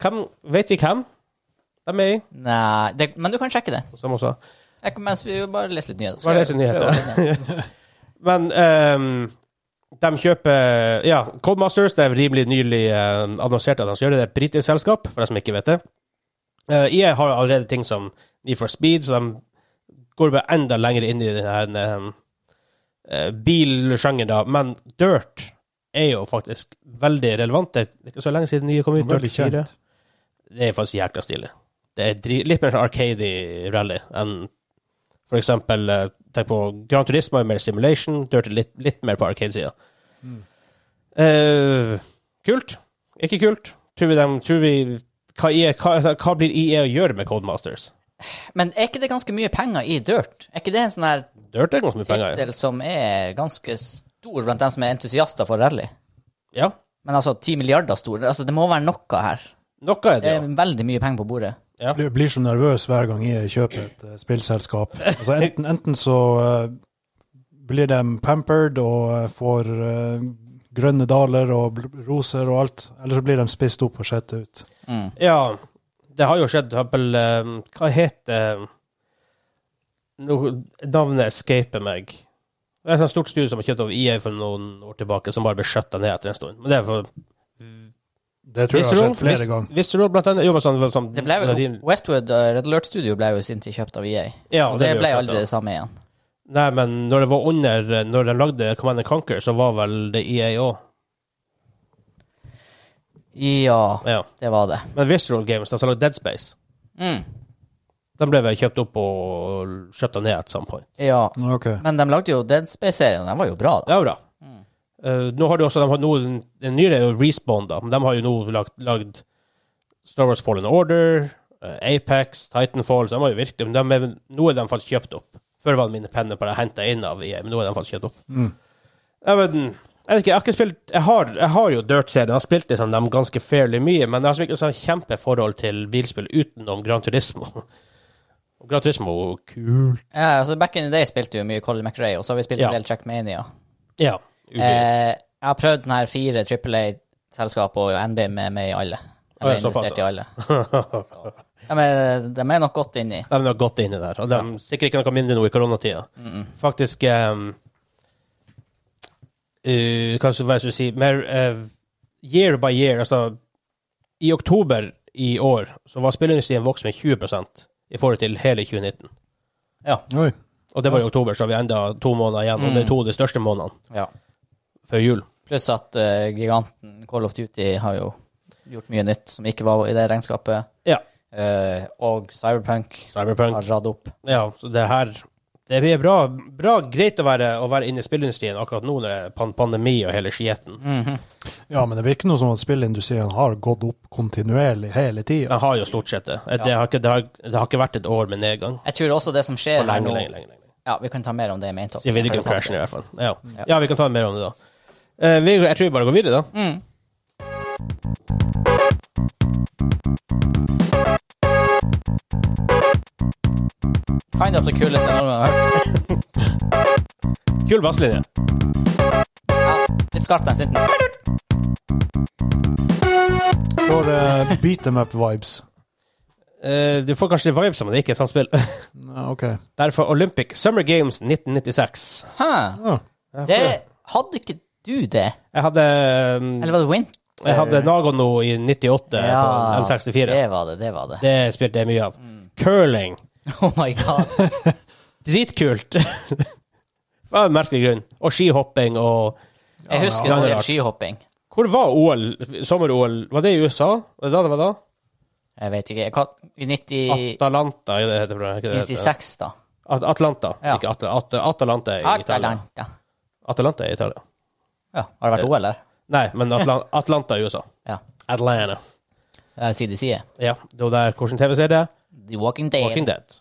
C: Hvem, vet vi hvem de er i?
A: Nei, det, men du kan sjekke det.
C: Som også.
A: Jeg, kan- mens vi bare leser litt nyheter. så
C: Bare
A: jeg-
C: leser nyheter.
A: prøver å finne det.
C: Men ehm, de kjøper Ja, Codemasters det er rimelig nylig eh, annonsert at de skal gjøre det. Det er et britisk selskap, for de som ikke vet det. Uh, EA har allerede ting som Need for Speed, så de går bare enda lenger inn i denne bilsjangeren, ehm, eh, da. Men Dirt er jo faktisk veldig relevant. Det er ikke så lenge siden nye kom ut.
B: Veldig
C: Dirt 4.
B: kjent.
C: Det er faktisk jækla stilig. Det er dri litt mer sånn arcade rally enn for eksempel eh, Tenk på Gran Turismo er mer simulation, Dirt er litt, litt mer på arcade-sida.
B: Mm.
C: Eh, kult? Ikke kult? Tror vi dem tror vi, hva, EA, hva, altså, hva blir IE å gjøre med Codemasters?
A: Men er ikke det ganske mye penger i Dirt? Er ikke det en sånn her
C: Dirt er ganske mye penger.
A: tittel som er ganske stor blant dem som er entusiaster for rally?
C: Ja. ja.
A: Men altså, ti milliarder stor, altså, det må være noe her.
C: Noe er
A: Det
C: det,
A: er veldig mye penger på bordet.
C: ja. ja.
B: Jeg blir så nervøs hver gang jeg kjøper et eh, spillselskap. Altså enten, enten så eh, blir de pampered og eh, får eh, grønne daler og bl- roser og alt, eller så blir de spist opp og skjett ut.
A: Mm.
C: Ja, det har jo skjedd, for eksempel eh, Hva heter no, Navnet escaper meg. Det er et sånt stort studie som har kjøpt over IE for noen år tilbake, som bare ble skjøtta ned etter en stund. Men det er for
B: Det tror jeg har skjedd flere ganger.
C: Visceral, blant annet. Jo, men sånn, sånn
A: Det ble vel,
C: din-
A: Westwood eh, Red Alert Studio ble jo i sin tid kjøpt av EA.
C: ja,
A: Og det
C: jo
A: ble
C: kjøpt,
A: aldri
C: da.
A: det samme igjen.
C: Nei, men når det var under eh, Når de lagde Command Conquer, så var vel det E EA òg.
A: Ja,
C: Ja.
A: det var det.
C: Men Visceral Games, de som lagde Dead Space,
A: Mm.
C: de ble vel kjøpt opp og skjøtta ned at some point.
A: Ja.
B: Ok.
A: Men de lagde jo Dead Space-serien, den var jo bra, da.
C: Det er jo bra. Eh, nå har de også de har nå, Den nyere er jo Respawn, da. Men de har jo nå lagd, lagd Star Wars Fallen Order, uh, Apex, Titanfall Så de har jo virkelig men de er, Nå er de faktisk kjøpt opp. Før var det mine penner bare henta inn av EA, men nå er de faktisk kjøpt opp.
B: Mm.
C: Jeg vet, ikke, jeg vet ikke, jeg har ikke spilt Jeg har, jeg har jo Dirt-serien, jeg har spilt liksom dem ganske fairly mye, men jeg har liksom ikke sånn kjempeforhold til bilspill utenom Gran Turismo. Og Gran Turismo er jo kult.
A: Ja, altså, back in the day spilte vi jo mye Colin McRae, og så har vi spilt
C: Ja.
A: en del Checkmania.
C: Ja.
A: Eh, jeg har prøvd sånne her fire AAA-selskap, og NBIM er med i alle. Jeg
C: Å, ja,
A: er
C: såpass,
A: investert i alle. De er, eh, de er nok godt inni.
C: De har gått inn i der, og de er sikkert ikke noe mindre nå i koronatida. Faktisk um, uh, Kanskje hva jeg skulle si mer, eh, Year by year, altså I oktober i år så var spilleindustrien vokst med 20 i forhold til hele 2019.
B: Oi.
C: Og det var i oktober, så har vi enda to måneder igjen. Og det er to av de største månedene
A: Ja.
C: før jul.
A: Pluss at eh, giganten Call of Duty har jo gjort mye nytt som ikke var i det regnskapet.
C: Ja.
A: Eh, og Cyberpunk
C: Cyberpunk.
A: har dratt opp.
C: Ja, så det her Det blir bra, bra greit å være, å være inne i spillindustrien akkurat nå når det er pan- pandemi og hele skietten.
B: Ja, men det virker noe som at spillindustrien har gått opp kontinuerlig hele tida.
C: Den har jo stort sett det. Det har, ikke, det, har, det har ikke vært et år med nedgang.
A: Jeg tror også det som skjer
C: På
A: her
C: lenge,
A: nå
C: lenge, lenge, lenge.
A: Ja, vi kan ta mer om det i main topic.
C: Siden videoen
A: Fantastisk.
C: crashen i hvert fall. Ja. ja, vi kan ta mer om det da. Eh, vi, jeg tror vi bare går videre, da.
A: Mm. Kind of det kuleste jeg noen gang har hørt.
C: Kul basslinje.
A: Ja, litt skarpt den sitter.
B: Får uh, beat them up-vibes.
C: Eh, du får kanskje vibes om det ikke er et sånt spill.
B: OK.
C: Derfor Olympic Summer Games 1996.
A: Hæ?
B: Ja.
A: Det hadde ikke du det?
C: Jeg hadde, um,
A: Eller var det Win?
C: jeg hadde Nagono i 98 på M64.
A: det Mm. var det, det var det.
C: Det spilte jeg mye av. Curling.
A: Oh my god.
C: Dritkult. Av en merkelig grunn. Og skihopping og
A: Jeg husker
C: ja,
A: sånn
C: det er
A: del
C: rart.
A: skihopping.
C: Hvor var OL? Sommer-OL? Var det i USA? Var det da det var da?
A: Jeg vet ikke. hva- I 90,
C: Atalanta, er det det heter for noe? Ikke det det heter?
A: 96, da.
C: At Atlanta,
A: Ja.
C: ikke At At Atalanta er i Italia.
A: Atalanta.
C: Atalanta er i Italia.
A: Ja, har det vært OL der?
C: Nei, men Atlan Atlanta er i USA.
A: Ja. Eh,
C: Atlanta.
A: Det er CDC. -et.
C: Ja, det var der hvilken TV-serie det er.
A: The Walking Dead.
C: Walking Dead.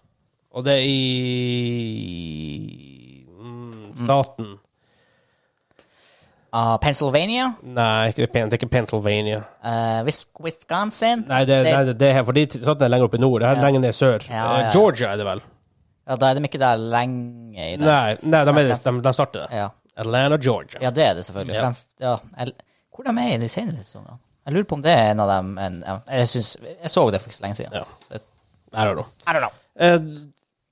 C: Og det er i mm, staten
A: Ah, Pennsylvania.
C: Nei, ikke, Pen- det er ikke Pennsylvania.
A: Eh, Wis- Wisconsin.
C: Nei, det,
A: Det-
C: nei, det, det er her, fordi staten er lenger oppe i nord. Det her er
A: Ja.
C: lenger ned i sør.
A: Ja, ja,
C: Eh,
A: ja.
C: Georgia er det vel?
A: Ja, da er de ikke der lenge i den.
C: Nei, nei de, er, de, de starter det.
A: Ja.
C: Atlanta, Georgia.
A: ja, det er det selvfølgelig. For
C: Ja.
A: De, ja, jeg, hvor de er i de senere sesongene? Jeg lurer på om det er en av dem en, ja, jeg, syns- jeg så det for ikke så lenge siden.
C: Ja.
A: Så jeg-
C: I don't know.
A: I don't know.
C: Eh,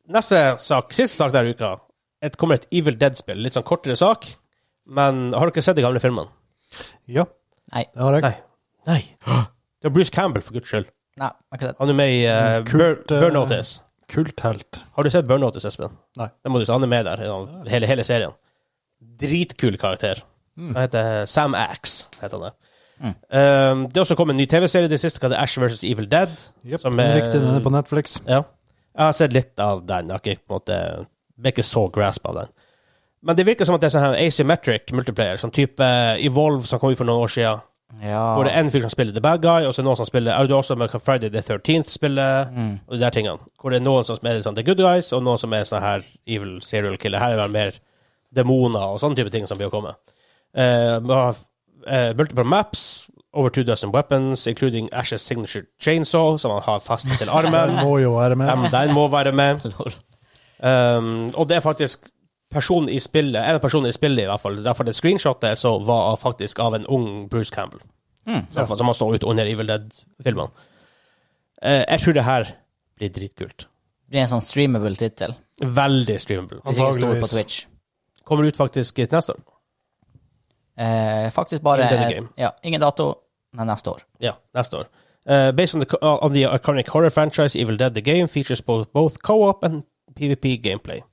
C: neste sak, siste sak denne uka, et, kommer et Evil Dead-spill. Litt sånn kortere sak, men har dere sett de gamle filmene?
B: ja.
A: Nei.
B: Det har jeg.
C: Nei. Nei. Det var Bruce Campbell, for guds skyld.
A: Nei, jeg kan ikke det.
C: Han er med i eh, Bur
B: Kult, eh,
C: Burn Notice.
B: Kulthelt.
C: Har du sett Burn Notice, Espen?
B: Nei.
C: Det må du si. Han er med der, i den- hele, hele serien. Dritkul karakter.
B: Mm.
C: Han heter Sam Axe, heter han det. Eh, det har også kommet en ny TV-serie. Det siste kalles Ash vs. Evil Dead.
B: Jepp,
C: Som eh, er-
B: riktig. Den er på Netflix.
C: Ja. Jeg har sett litt av den. Jeg har ikke, på en måte, ble ikke så grasp av den. Men det virker som at det er sånn her asymmetric multiplayer, sånn type Evolve som kom ut for noen år siden.
A: Ja.
C: Hvor det er en fyr som spiller The Bad Guy, og så er det noen som spiller Audio også med Friday the 13th spiller, og de der tingene. Hvor det er noen som er sånn The Good Guys, og noen som er sånn her Evil Serial Killer. Her er det mer demoner og sånne type ting som blir å komme. Eh, vi har eh, multiple maps, over two dozen weapons, including Ashes signature chainsaw, som han har fast til armen.
B: Den må jo være med.
C: Den, den må være med.
A: Lol.
C: Um, og det er faktisk personen i spillet, en person i spillet i hvert fall, derfor det screenshotet jeg så var faktisk av en ung Bruce Campbell, som, som han så ut under Evil Dead-filmene. Eh, jeg tror det her blir dritkult.
A: Det blir en sånn streamable tittel.
C: Veldig streamable.
A: Hvis ikke stor på
B: Antageligvis.
A: Twitch.
C: Kommer ut faktisk til neste år.
A: Eh, faktisk bare
C: Ingen game.
A: Ja, ingen dato, men neste år.
C: Ja, neste år. Eh, based on the, co- on the iconic horror franchise, Evil Dead the Game features both, both co-op and PVP gameplay.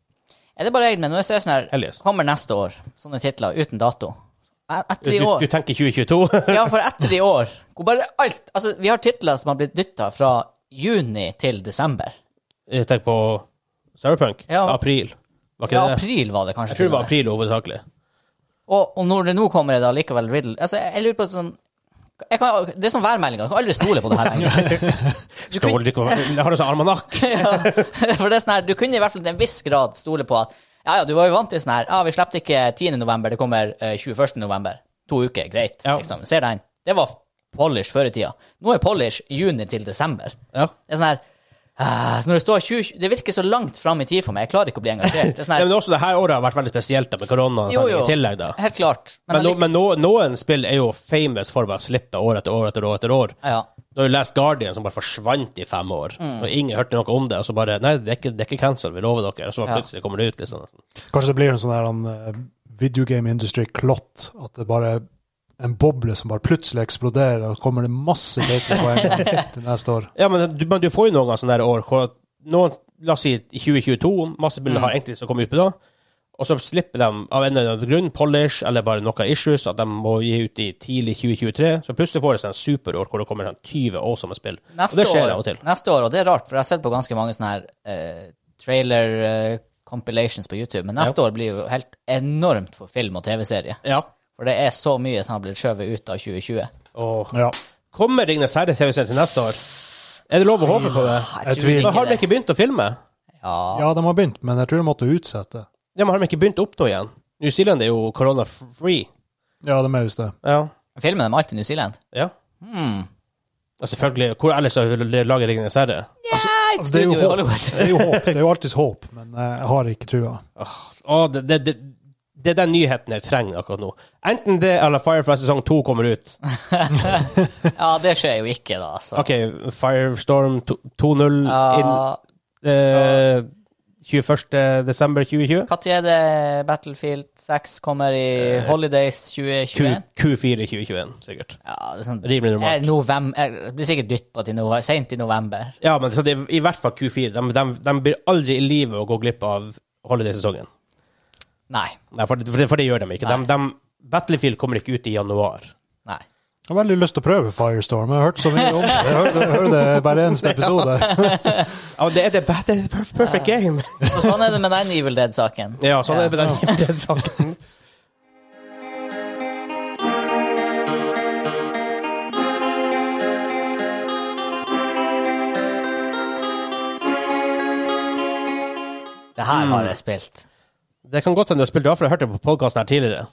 A: Er det bare jeg, men når jeg ser sånn her
C: Hell yes.
A: Kommer neste år, sånne titler uten dato. E-
C: Du,
A: Etter i
C: du
A: år
C: tenker 2022?
A: Ja, for etter i år hvor bare alt Altså, vi har titler som har blitt dytta fra juni til desember.
C: jeg tenker Eh, på Cyberpunk?
A: Ja.
C: April? Var ikke
A: Ja,
C: det det?
A: april var det kanskje.
C: Jeg tror det
A: til
C: var
A: og med.
C: april hovedsakelig.
A: Og, og når det nå kommer det da likevel Riddle Altså, jeg, jeg lurer på sånn jeg kan, Det er sånn værmeldinger. Jeg kan aldri stole på det her lenger. Du
C: Da
A: kunne,
C: holder det ikke å være- Jeg har altså almanakk.
A: for det er sånn her, du kunne i hvert fall til en viss grad stole på at Ja, ja, du var jo vant til sånn her Ja, vi slapp det ikke 10. november, det kommer eh, 21. november. To uker, greit.
C: Ja.
A: Liksom. Ser den. Det var polish før i tida. Nå er polish juni til desember.
C: Ja.
A: Det er sånn her ah, så når det, står 20, det virker så langt fram i tid for meg. Jeg klarer ikke å bli engasjert. Det er sånn
C: Ja,
A: her,
C: men også det her året har vært veldig spesielt da, med korona og
A: Jo,
C: sånn
A: jo.
C: i tillegg. da.
A: helt klart. Men,
C: Men, no,
A: allike-
C: men no, noen spill er jo famous for å bare slippe år etter år etter år. etter år.
A: ja, Mm. ja.
C: Du har jo lest Guardian, som bare forsvant i fem år. Og ingen hørte noe om det. Og så bare Nei, det er ikke, det er ikke cancel, vi lover dere. Og så
A: Ja.
C: bare plutselig kommer det ut, liksom.
B: Kanskje det blir en sånn her en, eh, video game industry-klott. At det bare er en boble som bare plutselig eksploderer, og kommer det masse dater på en gang til neste år.
C: Ja, men du, men du får jo noen ganger sånne der år hvor at noen, La oss si i 2022, masse bilder
A: Mm.
C: har egentlig som kommer ut på da. Og så slipper de av en eller annen grunn, polish eller bare noen issues, at de må gi ut i tidlig 2023. Så plutselig får det seg en superår hvor det kommer sånn 20 awesome spill. og
A: Neste
C: det skjer
A: år,
C: av og til.
A: Neste år, og det er rart, for jeg har sett på ganske mange sånne her eh, trailer eh, compilations på YouTube, men neste år blir jo helt enormt for film og TV-serie.
C: Ja.
A: For det er så mye som har blitt skjøvet ut av 2020.
C: Åh.
B: Ja.
C: Kommer Ringnes Herre-TV-serien til neste år? Er det lov å håpe på det?
B: Jeg tviler.
C: Da har de
A: det.
C: ikke begynt å filme.
A: Ja.
B: ja, de har begynt, men jeg tror de måtte utsette.
C: Ja, men har de ikke begynt opp nå igjen? New Zealand er jo corona-free.
B: Ja, de er visst det.
C: Ja.
A: Filmer dem alltid i New Zealand?
C: ja.
A: Hmm.
C: Ja, selvfølgelig. Hvor ellers lager Ringnes Herre?
A: Nei, et
B: altså, det er jo
A: studio i
B: håp.
A: Hollywood.
B: Det er jo håp. Det er jo alltids håp, men eh, jeg har ikke trua.
C: Å, det, det, det, det er den nyheten jeg trenger akkurat nå. Enten det eller Firefly sesong 2 kommer ut.
A: Ja, det skjer jo ikke, da. Så.
C: OK, Firestorm to- 2.0 inn
A: Ja,
C: eh, 21. desember 2020.
A: Når er det Battlefield 6 kommer i
C: Eh,
A: Holidays 2021?
C: Q, Q4 2021, sikkert.
A: Ja, det er sånn
C: Rimelig normalt.
A: Eh, novem- eh, Det blir sikkert dytta til noe seint i november.
C: Ja, men så det er i hvert fall Q4. De, de, de blir aldri i live å gå glipp av holiday-sesongen.
A: Nei.
C: Nei, for, det- for, det- for det gjør de ikke. De, de, Battlefield kommer ikke ut i januar.
A: Nei.
B: Jeg har veldig lyst til å prøve Firestorm. Jeg har hørt så mye om det. Jeg hører det, jeg hører det hver eneste episode.
C: Ja, det er det beste det er per- perfect game!
A: Så sånn er det med den Evil Dead-saken.
C: Ja, sånn er det
A: Ja.
C: med den, den saken.
A: Det her
C: Mm.
A: har jeg spilt.
C: Det kan godt hende du har spilt det av, for jeg hørte det på podkasten her tidligere.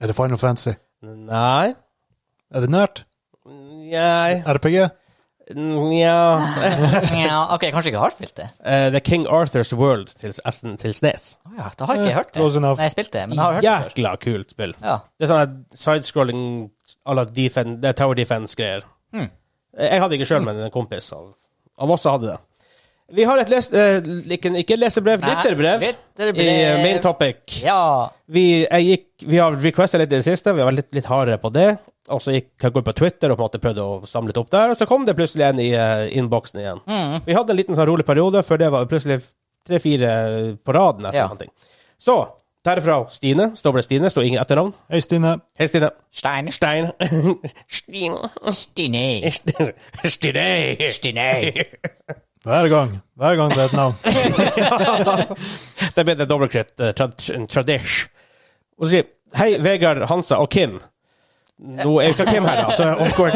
B: Er det Final Fantasy?
C: Nei
B: Er det nært?
C: Nei
B: RPG?
C: Nja
A: Ja, OK, kanskje jeg ikke har spilt det?
C: Eh, Det er King Arthurs World til, S- til SNES.
A: Å ja, da har ikke jeg hørt det.
B: Close enough.
A: Nei, jeg spilte det, men jeg har hørt det. før.
C: Jækla kult spill.
A: Ja.
C: Det er sånn her sidescrolling à la defen- det er Tower Defense-greier. Eh,
A: Mm.
C: Jeg hadde ikke sjøl, men en kompis av, av oss hadde det. Vi har et les... eh, ikke, ikke lesebrev,
A: Nei,
C: lytterbrev i eh,
A: Glitterbrev.
C: main topic.
A: Ja.
C: Vi, jeg gikk, vi har requesta litt i det siste, vi har vært litt, litt hardere på det. Og så gikk jeg går på Twitter og på en måte prøvde å samle litt opp der, og så kom det plutselig en i eh, innboksen igjen.
A: Mm.
C: Vi hadde en liten sånn rolig periode, før det var plutselig tre-fire på rad. nesten.
A: Ja.
C: sånne ting. Så derfra Stine. Står bare Stine, står ingen etternavn.
B: Hei, Stine.
C: Hei, Stine.
A: Stein.
C: Stein. Stine.
A: Stine.
C: Stine.
A: Stine.
B: Hver gang. Hver gang det er et navn.
C: Det ble det dobbeltkritt. eh, trad- Tradish. Og så sier Hei, Vegard, Hansa og Kim. Nå er jo ikke Kim her, da, så awkward.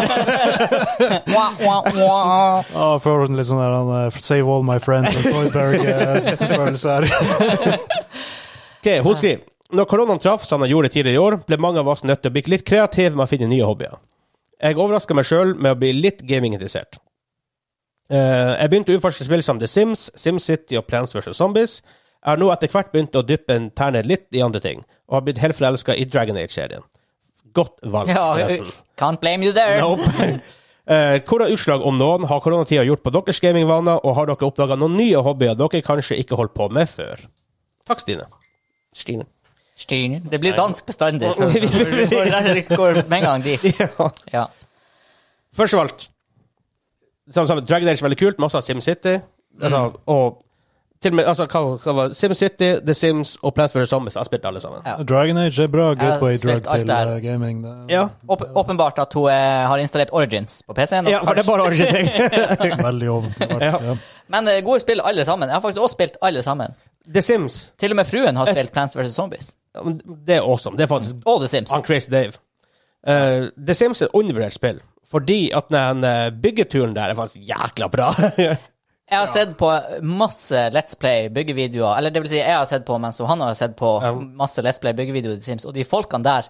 A: Wah, wah, wah.
B: Ja, for en litt sånn der han, eh, Save all my friends and Soyberg-følelse her.
C: Ok, Hun skriver Når koronaen traff, som den gjorde tidligere i år, ble mange av oss nødt til å bli litt kreative med å finne nye hobbyer. Jeg overraska meg sjøl med å bli litt gaminginteressert. Eh, jeg begynte å utforske spill som The Sims, SimCity og Plants vs. Zombies. Jeg har nå etter hvert begynt å dyppe en terne litt i andre ting, og har blitt helt forelska i Dragon Age-serien. Godt valg,
A: Ja,
C: forresten.
A: can't blame you there.
C: Nope. Eh, hvordan utslag, om noen, har koronatida gjort på deres gamingvaner, og har dere oppdaga noen nye hobbyer dere kanskje ikke holdt på med før? Takk, Stine. Stine.
A: Stine. Det blir dansk bestandig. for- for- for- Det går med en gang dit.
C: Ja.
A: Ja.
C: Først av alt som, som, Dragon Age er veldig kult, men også SimCity. Altså, Og til og med altså, hva, hva var det? SimCity, The Sims og Plants vs. Zombies. Jeg har spilt alle sammen.
A: Ja.
B: Dragon Age er bra
A: Jeg har
B: gateway-drug
A: spilt alt
B: til
A: der.
B: eh, gaming. Det
C: Ja,
A: Åp- Åpenbart at hun eh, har installert Origins på PC-en. og
C: ja for det er
A: kanskje-
C: bare origin.
B: er veldig åpenbart.
C: Ja.
B: Ja.
A: Men eh, gode spill, alle sammen. Jeg har faktisk også spilt alle sammen.
C: The Sims.
A: Til og med fruen har spilt Plants vs. Zombies.
C: ja, men Det er awesome. Det er faktisk
A: Og The Sims.
C: han Crazy Dave. Eh, The Sims er et undervurdert spill, fordi at den eh, byggeturen der er faktisk jækla bra.
A: Jeg har sett på masse Let's Play byggevideoer, eller det vil si jeg har sett på mens han har sett på masse Let's Play byggevideoer i The Sims, og de folkene der,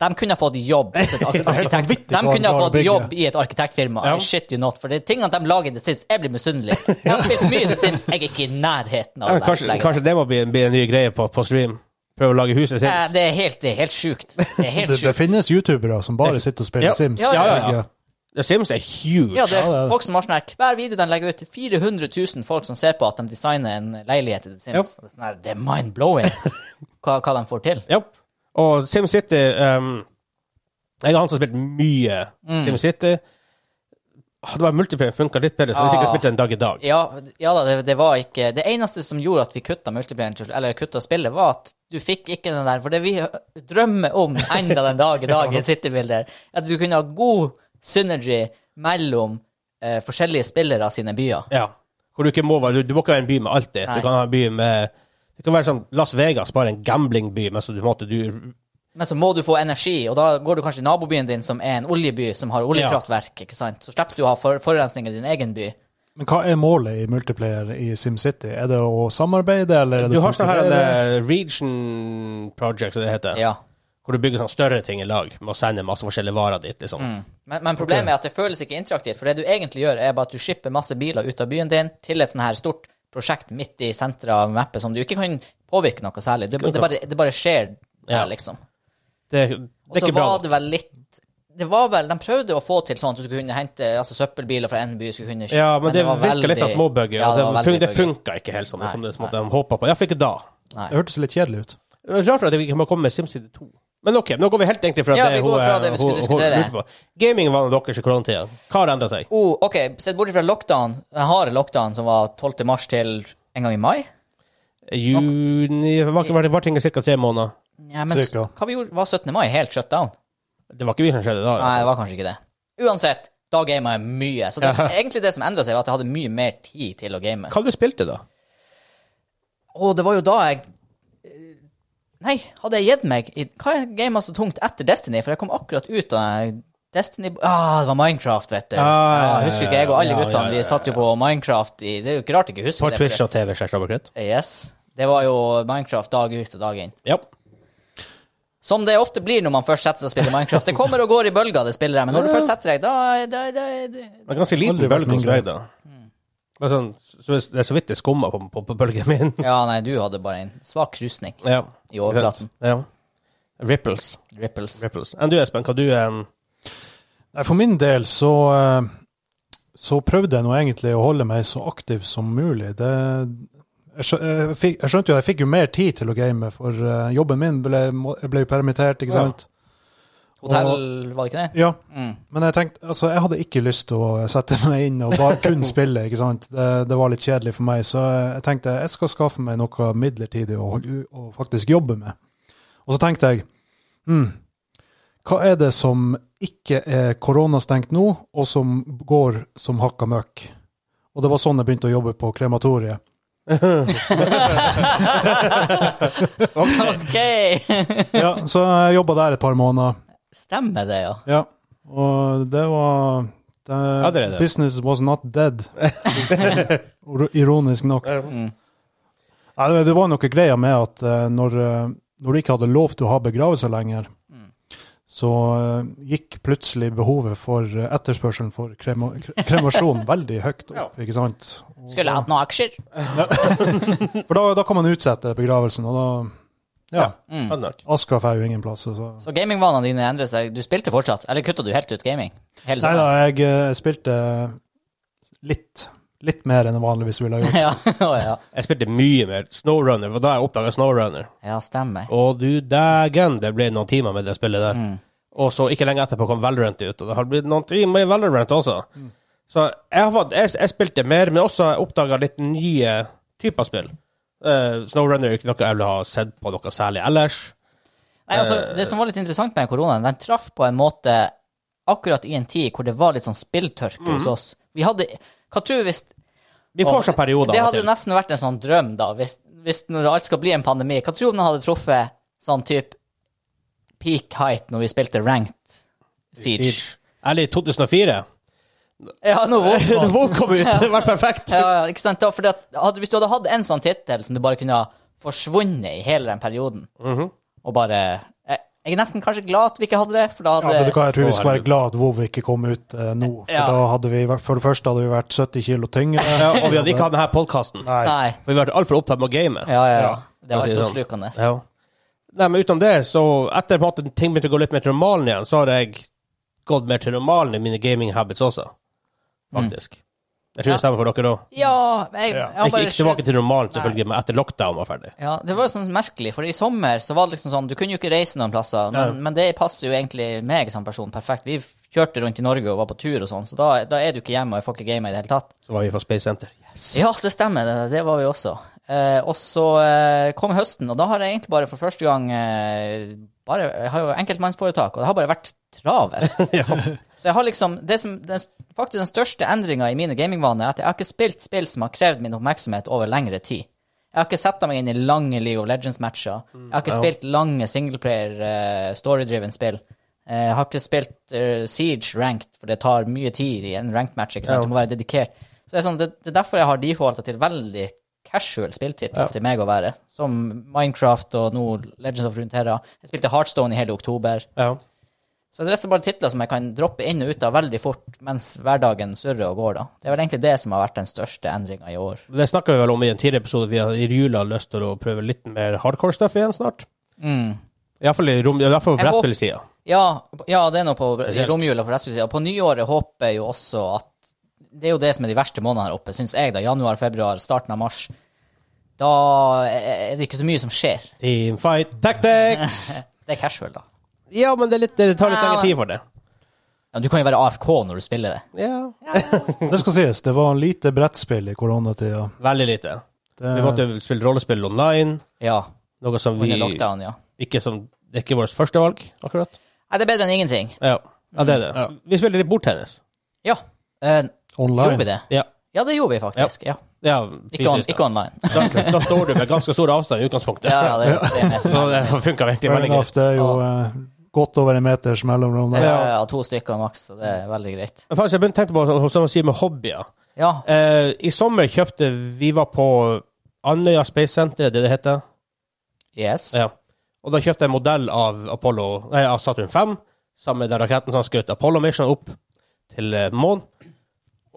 A: de kunne ha fått jobb hos et arkitekt-
B: vanvittig
A: De kunne ha
B: bra å
A: fått
B: bygge.
A: jobb i et arkitektfirma.
C: Ja.
A: I shit you not. For det er tingene de lager i The Sims, jeg blir misunnelig. Jeg har spilt mye i The Sims, jeg er ikke i nærheten av
C: Ja,
A: det. der
C: kanskje,
A: opplegget.
C: kanskje det må bli, bli en ny greie på, på stream. Prøve å lage huset
A: Eh,
C: Sims.
A: Det er helt, det er helt sjukt. Det er helt
B: Det, det
A: sjukt.
B: finnes youtubere som bare sitter og spiller
C: Ja.
B: Sims.
A: Ja, ja,
C: ja. The Sims er huge.
A: Ja, det
B: Ja,
A: er
B: det-
A: folk som har sånn her Hver video de legger ut, 400 000 folk som ser på at de designer en leilighet i The Sims. Det er Sånn her, det er mind-blowing hva, hva de får til.
C: Ja. Og SimCity ehm, Jeg er han som har spilt mye
A: Mm.
C: SimCity. Hadde bare multiplayer funka litt bedre, så hadde jeg sikkert
A: Ah.
C: spilt det en dag i dag.
A: Ja, ja da, det, det var ikke Det eneste som gjorde at vi kutta multiplayeren til- eller kutta spillet, var at du fikk ikke den der For det vi drømmer om enda den dag i dag i Citybilder, at du kunne ha god synergy mellom eh, forskjellige spillere sine byer.
C: Ja. Hvor du ikke må være Du, du må ikke være en by med alt det.
A: Nei.
C: Du kan ha en by med Det kan være sånn Las Vegas, bare en gamblingby, men så du, på en måte, du
A: Men så må du få energi, og da går du kanskje i nabobyen din, som er en oljeby, som har oljekraftverk. ikke sant? Så slipper du å ha for forurensning i din egen by.
B: Men hva er målet i multiplayer i SimCity? Er det å samarbeide, eller er det
C: Du har sånn her det
B: konkurrere?
C: region project, som det heter.
A: Ja.
C: Hvor du bygger sånn større ting i lag med å sende masse forskjellige varer dit. liksom.
A: Men, men problemet er at det føles ikke interaktivt, for det du egentlig gjør, er bare at du shipper masse biler ut av byen din til et sånn her stort prosjekt midt i senteret av mappet som du ikke kan påvirke noe særlig. Det, det, bare, det bare skjer der,
C: Ja.
A: liksom.
C: Det, det
A: Og
C: er
A: så
C: ikke bra.
A: var det vel litt det var vel, De prøvde å få til sånn at du skulle kunne hente altså søppelbiler fra en by skulle kunne
C: Ja, men, det,
A: var
C: virker litt sånn
A: veldig-
C: småbuggy.
A: Ja,
C: og
A: det,
C: det,
A: var
C: fun,
A: veldig
C: det
A: buggy.
C: funka ikke helt sånn
A: Nei,
C: som det som
A: nei.
C: de håpa på. Iallfall ikke da.
A: Nei.
B: Det hørtes litt kjedelig ut.
C: Det er Rart at vi ikke må komme med SimCity 2. Men OK, nå går vi helt egentlig fra
A: Ja,
C: det
A: vi går fra det vi skulle diskutere.
C: lurte på. Gaming var deres i koronatida. Hva har endra seg?
A: Oh, OK, sett bort fra lockdown, den harde lockdown som var 12. mars til en gang i mai
C: Juni Var ikke- var det- var ting i ca. tre måneder?
A: ja, men, s-
B: Cirka.
A: Hva vi gjorde, var 17. mai helt shutdown?
C: Det var ikke vi som skjedde da.
A: Nei, det var kanskje ikke det. Uansett, da gama jeg mye. Så det, som- egentlig det som endra seg, var at jeg hadde mye mer tid til å game.
C: Hva du spilte da?
A: Og det var jo da jeg eh, Nei, hadde jeg gitt meg i Hva er gama så tungt etter Destiny? For jeg kom akkurat ut av eh, Destiny Ah, det var Minecraft, vet du.
C: ja, ja,
A: Ja, husker ikke jeg og alle
C: ja, ja,
A: guttene,
C: ja, ja,
A: vi satt jo på Minecraft i Det er jo ikke rart jeg ikke husker
C: På
A: det.
C: Twitch
A: for
C: og TV? slash Robert Krett?
A: det- Yes. Det var jo Minecraft dag ut og dag inn.
C: Ja.
A: Som det ofte blir når man først setter seg og spiller Minecraft. Det kommer og går i bølger, det spillet der, men når du først setter deg, da, da, da, da
C: Det var ganske liten
B: Aldri vært
C: bølge hos
B: mindre.
C: meg, da. Men sånn, så hvis- det er så vidt det skummer på, på, på bølgen min.
A: Ja, nei, du hadde bare en svak krusning
C: ja.
A: i overflaten.
C: Ja. Ripples.
A: Ripples.
C: Ripples. Enn du, Espen, hva du um,
B: Nei, for min del så eh, så prøvde jeg nå egentlig å holde meg så aktiv som mulig. Det, jeg, skjø, jeg, fikk, jeg skjønte jo jeg fikk jo mer tid til å game, for eh, jobben min ble, må- jeg ble jo permittert, ikke
C: Ja.
B: sant?
A: Hotell, var det ikke det?
B: Ja,
A: Mm.
B: men jeg tenkte, altså jeg hadde ikke lyst til å sette meg inn og bare kun spille, ikke sant? Det, det var litt kjedelig for meg, så jeg tenkte jeg skal skaffe meg noe midlertidig å, holde- å faktisk jobbe med. Og så tenkte jeg, hmm, hva er det som ikke er koronastengt nå, og som går som hakka møkk? Og det var sånn jeg begynte å jobbe på krematoriet.
A: OK!
B: Ja, så jeg jobba der et par måneder.
A: Stemmer det, ja.
B: Ja, og det var det,
C: det er det.
B: Business was not dead. Ro- Ironisk nok.
A: Mm.
B: Nei, det- det var noe greier med at eh, når, eh, når du ikke hadde lov til å ha begravelser lenger,
A: Mm.
B: så eh, gikk plutselig behovet for eh, etterspørselen for krema, kre- kremasjon veldig høyt opp, ikke sant?
A: Skulle hatt noen aksjer.
B: For da, da kan man utsette begravelsen, og da Ja.
A: Mm.
C: Annak?
B: Aska får jo ingen plass. altså. Så.
A: Så gamingvanene dine endret seg. Du spilte fortsatt, eller kutta du helt sånn. ut gaming? Hele
B: Nei da,
A: sommeren?
B: jeg eh, spilte litt, litt mer enn jeg vanligvis ville ha gjort.
A: ja. å, ja.
C: Jeg spilte mye mer Snowrunner, for da jeg oppdaga Snowrunner.
A: ja, stemmer.
C: Og du dægen, det ble noen timer med det spillet der.
A: Mm.
C: Og så ikke lenge etterpå kom Valorant ut, og det har blitt noen timer i Valorant også.
A: Mm.
C: Så jeg, har fått, jeg, jeg spilte mer, men også oppdaga litt nye typer spill. Eh, Snowrunner er ikke noe jeg ville ha sett på noe særlig ellers.
A: Nei, altså, det som var litt interessant med koronaen, den traff på en måte akkurat i en tid hvor det var litt sånn spilltørke hos oss. Vi hadde Hva tror du hvis
C: Vi
A: Og
C: får sånne perioder
A: Det
C: av og
A: hadde
C: til.
A: nesten vært en sånn drøm, da, hvis, hvis når alt skal bli en pandemi. Hva tror du om den hadde truffet sånn type peak height når vi spilte ranked Siege?
C: Eller i 2004.
A: Ja, nå våkna
C: Hvor kom vi ut? Det var perfekt.
A: ja, ja, ikke sant? Da, fordi at, hadde, hvis du hadde hatt en sånn tittel som du bare kunne ha forsvunnet i hele den perioden, og bare jeg, jeg er nesten kanskje glad at vi ikke hadde det, for da
B: Ja, vet
A: hadde
B: du hva, jeg
C: Å,
B: tror vi skal være
C: herregud.
B: glad at WoW ikke kom ut eh, nå. For,
A: Ja.
B: da hadde vi, vært- for det første hadde vi vært 70 kilo tyngre.
C: Ja, og vi hadde ikke hatt denne podkasten.
B: Nei.
A: Nei.
C: For vi har vært altfor opptatt med å game.
A: Ja, ja, ja.
B: Ja,
A: Det var
C: for å si det sånn.
A: altoppslukende.
C: Ja. Nei, men utenom det, så etter på en måte ting begynte å gå litt mer til normalen igjen, så har jeg gått mer til normalen i mine gaming habits også, faktisk. Jeg tror
A: Mm. Ja.
C: det stemmer for dere òg.
A: Ja, jeg, jeg
B: Ja.
A: har
C: Ikke,
A: bare
C: ikke tilbake til normalen,
A: Nei.
C: selvfølgelig, men etter lockdown var ferdig.
A: Ja, det var jo sånn merkelig, for i sommer så var det liksom sånn, du kunne jo ikke reise noen plasser, men, men det passer jo egentlig meg som person perfekt. Vi kjørte rundt i Norge og var på tur og sånn, så da, da er du ikke hjemme, og jeg får ikke game i det hele tatt.
C: Så var vi på Space Center.
A: Ja, det stemmer, det, det var vi også. Eh, og så eh, kom høsten, og da har jeg egentlig bare for første gang eh, bare, Jeg har jo enkeltmannsforetak, og det har bare vært travelt. Så jeg har liksom det som, den, Faktisk den største endringa i mine gamingvaner er at jeg har ikke spilt spill som har krevd min oppmerksomhet over lengre tid. Jeg har ikke sett meg inn i lange League of Legends-matcher. Jeg har ikke spilt lange singleplayer eh, storydriven spill. Eh, Jeg har ikke spilt eh, Siege ranked, for det tar mye tid i en ranked match. ikke sant? Du må være dedikert. Så det er, sånn, det, det er derfor jeg har defaulta til veldig casual spilltitler til meg å være. Som Minecraft og nå Legends of Runeterra. Jeg spilte Heartstone i hele oktober.
C: Ja.
A: Så det er rett og slett bare titler som jeg kan droppe inn og ut av veldig fort mens hverdagen surrer og går, da. Det er vel egentlig det som har vært den største endringa i år.
C: Det snakka vi vel om i en tidligere episode. Vi har i jula lyst til å prøve litt mer hardcore stuff igjen snart.
A: Mm.
C: Iallfall i rom- i hvert fall på
A: Jeg håper-
C: brettspillsida.
A: Ja, ja, det er noe på i
C: Spesielt.
A: romjula på resten av siden. På nyåret håper jeg jo også at Det er jo det som er de verste månedene her oppe, syns jeg, da. Januar, februar, starten av mars. Da er det ikke så mye som skjer.
C: Team Fight Tactics!
A: Det er casual, da.
C: ja, men det, er litt, det tar litt
A: Ja,
C: lengre
A: men-
C: tid for det.
A: Ja, du kan jo være AFK når du spiller det.
C: Ja.
B: Det skal sies, det var lite brettspill i koronatida.
C: Veldig lite.
B: Det,
C: Vi måtte spille rollespill online,
A: Ja,
C: noe som vi
A: under lockdown, ja.
C: ikke som, Det er ikke vårt første valg, akkurat.
A: Nei, det er bedre enn ingenting.
C: Ja, ja det er det. Vi spiller litt bordtennis.
A: Ja. Eh, gjorde vi
B: online.
A: det?
C: Ja.
A: Ja, det gjorde vi faktisk. Ja.
C: ja
A: Ikke, on,
C: fysisk, da.
A: ikke online.
C: Da, da står du med ganske stor avstand i utgangspunktet.
A: Ja, ja, det, det er mest.
C: Så det funka egentlig
B: Fair
C: veldig
B: enough,
C: greit.
B: det er jo eh, godt over en meters
A: Ja,
B: mellomrom der.
A: ja, ja, Eh, to stykker maks, så det er veldig greit.
C: Men faktisk, jeg begynte å tenke på hva som man sier med hobbyer.
A: Ja.
C: Eh, I sommer kjøpte vi var på Andøya Space Center, er det det heter.
A: Yes.
C: Ja. Og da kjøpte jeg en modell av, Apollo, nei, av Saturn 5, sammen med den raketten som skjøt Apollo Mission opp til eh, månen.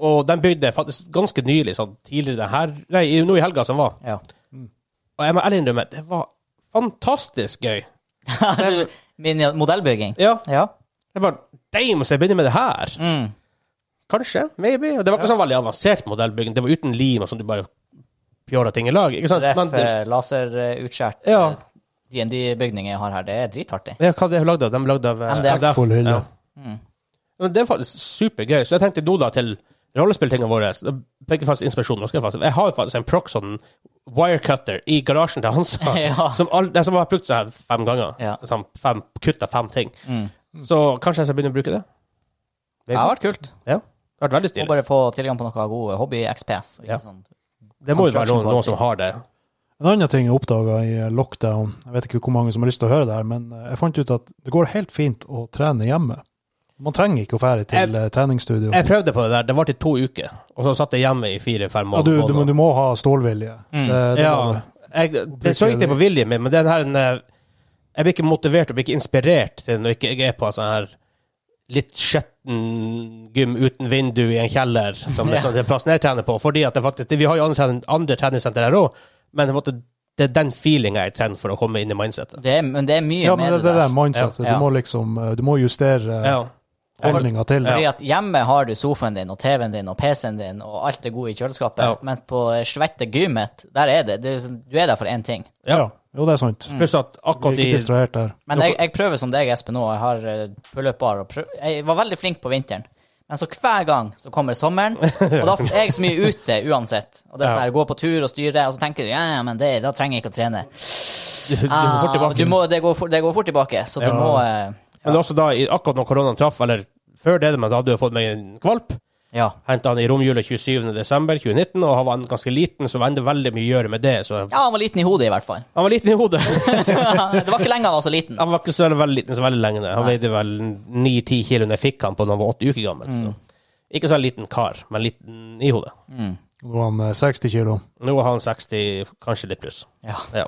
C: Og den bygde jeg faktisk ganske nylig, sånn tidligere den her, nei, i- nå i helga som var.
A: Ja.
C: Og jeg må ærlig innrømme, det var fantastisk gøy.
A: Min modellbygging.
C: Ja,
A: Ja.
C: jeg bare, damn, så jeg begynner med det her.
A: Mm.
C: Kanskje, maybe. Og det var ikke sånn veldig avansert modellbygging, det var uten lim og sånn, du bare pjåla ting i lag, ikke sant? Men
A: Ref
C: det,
A: eh, laserutskjært
C: Ja.
A: eh, DND-bygning jeg har her, det er dritartig.
C: ja, hva er det lagd av? De er lagd av eh,
A: MDF.
B: Full hylle.
C: Ja.
A: Mm.
C: Men det er faktisk supergøy. Så jeg tenkte nå da til rollespilltingene våre så da fikk jeg faktisk inspirasjon. Nå skal jeg, faktisk, jeg har faktisk en Proxon wirecutter i garasjen til Hansa,
A: Ja.
C: som, all, den som har brukt sånn her fem ganger.
A: Ja.
C: Sånn fem, kutta fem ting.
A: Mm.
C: Så kanskje jeg skal begynne å bruke det.
A: Det har vært kult.
C: Det har vært veldig
A: Må
C: stilig.
A: bare få tilgang på noe god hobby-XPS. ikke sånn.
C: Ja.
A: sant?
C: Det må jo være noen,
A: Construction
C: noen som har det.
B: En annen ting jeg oppdaga i eh, lockdown, jeg vet ikke hvor mange som har lyst til å høre det her, men eh, jeg fant ut at det går helt fint å trene hjemme. Man trenger ikke å fære til eh, treningsstudio.
C: Jeg prøvde på det der, det varte i to uker. Og så satt jeg hjemme i fire-fem
B: Ja, du,
C: måneder.
B: du, må- du må ha stålvilje.
A: Mm.
B: Det, det
C: ja,
B: må du.
C: jeg, det så ikke det på viljen min, men den her eh, Jeg blir ikke motivert og blir ikke inspirert til når ikke jeg er på en sånn her litt skjetten gym uten vindu i en kjeller, som
A: Ja.
C: er sånn det er plassen jeg trener på. Fordi at det faktisk, Vi har jo andre, trening- andre treningssenter her òg, men på en måte, det er den feelinga jeg trenger for å komme inn i mindsetet.
A: Det er, men det er mye
B: Ja, men
A: med
B: det,
A: det,
B: det der
A: der.
B: mindsetet.
A: Ja.
B: Du må liksom eh, Du må justere
C: Ja.
B: holdninga til det.
A: Fordi at hjemme har du sofaen din og TV-en din og PC-en din og alt det gode i kjøleskapet,
C: Ja.
A: mens på eh, svette gymmet, der er det. det er sånn- du er der for én ting.
C: Ja.
B: Ja. Jo, det er sant.
C: Pluss at
B: Blir
C: akkurat i
B: ikke distrahert der.
A: Men jeg, jeg prøver som deg, Espen, nå. Jeg har eh, pull-up-bar. og prøv- Jeg var veldig flink på vinteren. Men så hver gang så kommer sommeren, og da er jeg så mye ute uansett. Og det er sånn her, gå på tur og styre, og så tenker du ja, ja, men det, da trenger jeg ikke å trene.
C: du, du må fort
A: Ah,
C: tilbake.
A: du må, det, går fort, det går fort tilbake, så du
B: Ja.
A: må eh,
C: Men også da, i- akkurat når koronaen traff, eller før det, men da hadde jeg fått meg en kvalp.
A: Ja.
C: Hentet han i romjula 27.12.2019, og han var ganske liten, så var det veldig mye å gjøre med det. Så
A: ja, han var liten i hodet, i hvert fall.
C: han var liten i hodet.
A: det var ikke lenge han var så liten.
C: Han var ikke så veldig liten så veldig lenge. Han
A: Nei.
C: veide vel 9-10 kilo da jeg fikk han på da han var åtte uker gammel. Så. Ikke så liten kar, men liten i hodet.
A: Mm.
B: Nå er han eh, 60 kilo.
C: Nå er han 60, kanskje litt pluss.
A: Ja.
C: Ja.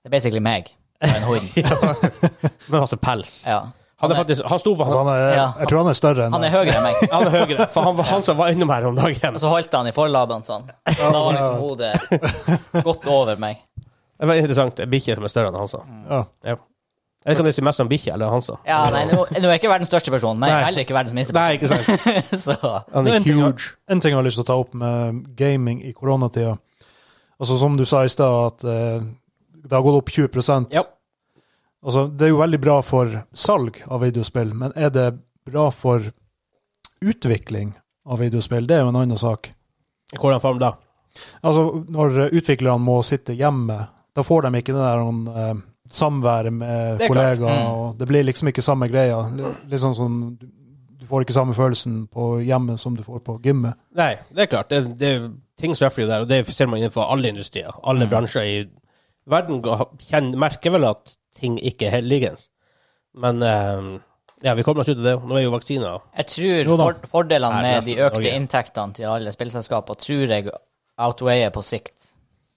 A: Det er basically meg. og En hund.
C: Men altså pels.
A: Ja.
C: Han,
A: Han
C: er
A: er,
C: faktisk, han sto på
B: Altså,
C: han,
B: han er,
A: Ja.
B: Jeg tror han er større enn
A: han er Altså- høyere enn meg.
C: han er høyere, for han var han som var innom her om dagen.
A: Og så holdt han i forlaben sånn. Da var liksom hodet godt over meg.
C: Det var interessant. En bikkje som er større enn Hansa.
B: Ja.
C: Ja. Jeg vet ikke om det sier mest om bikkje eller Hansa.
A: Ja, nei, nå, nå er jeg ikke verdens største person, men jeg
C: Nei.
A: er heller ikke verdens minste.
C: Nei, ikke sant.
A: person, Så
C: Han
B: Det
C: er
B: er en ting-
C: huge.
B: En ting jeg har lyst til å ta opp med gaming i koronatida. Altså Som du sa i stad, at eh, det har gått opp 20
C: Ja.
B: Altså, Det er jo veldig bra for salg av videospill, men er det bra for utvikling av videospill? Det er jo en annen sak.
C: Hvordan form da?
B: Altså, Når eh, utviklerne må sitte hjemme, da får de ikke det der eh, samværet med
C: Det er klart.
B: kollegaer.
A: Mm.
B: og Det blir liksom ikke samme greia. Litt, litt sånn som du, du får ikke samme følelsen på hjemmet som du får på gymmet.
C: Nei, det er klart. Det, det, er- ting surfer jo der, og det ser man innenfor alle industrier. Alle bransjer i verden ga- kjenner, merker vel at ting ikke er helligens. Men eh, ja, vi kommer oss ut av det. Nå er jo vaksiner
A: Jeg tror
B: Jo da.
A: for, fordelene
C: Nei,
A: med
C: nesten.
A: de økte
C: Ok.
A: inntektene til alle spillselskaper tror jeg outweier på sikt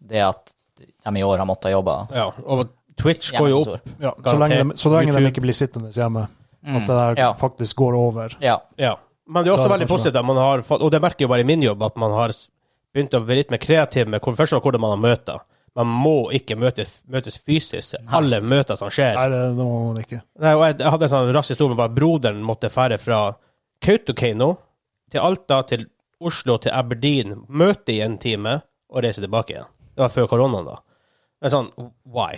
A: det at de i år har måttet jobbe.
C: Ja, og Twitch går jo opp.
B: Ja, så
C: Garantert.
B: lenge, de, så lenge de
C: YouTube.
B: ikke blir sittende hjemme.
A: Mm,
B: At det der
A: ja.
B: faktisk går over.
A: Ja.
C: Ja. Men det er også
B: Da er
C: veldig
B: det kanskje
C: positivt at man har fått, og det merker jeg jo bare i min jobb, at man har s- begynt å bli litt mer kreativ med hvor, først og fremst hvordan man har møter. Man må ikke møtes, møtes fysisk. Alle møter som skjer.
B: Nei, det, det må man ikke.
C: Nei, og jeg, jeg hadde en sånn rask historie med at broderen måtte fære fra Kautokeino til Alta til Oslo til Aberdeen, møte i en time og reise tilbake igjen. Det var før koronaen, da. Men sånn, why?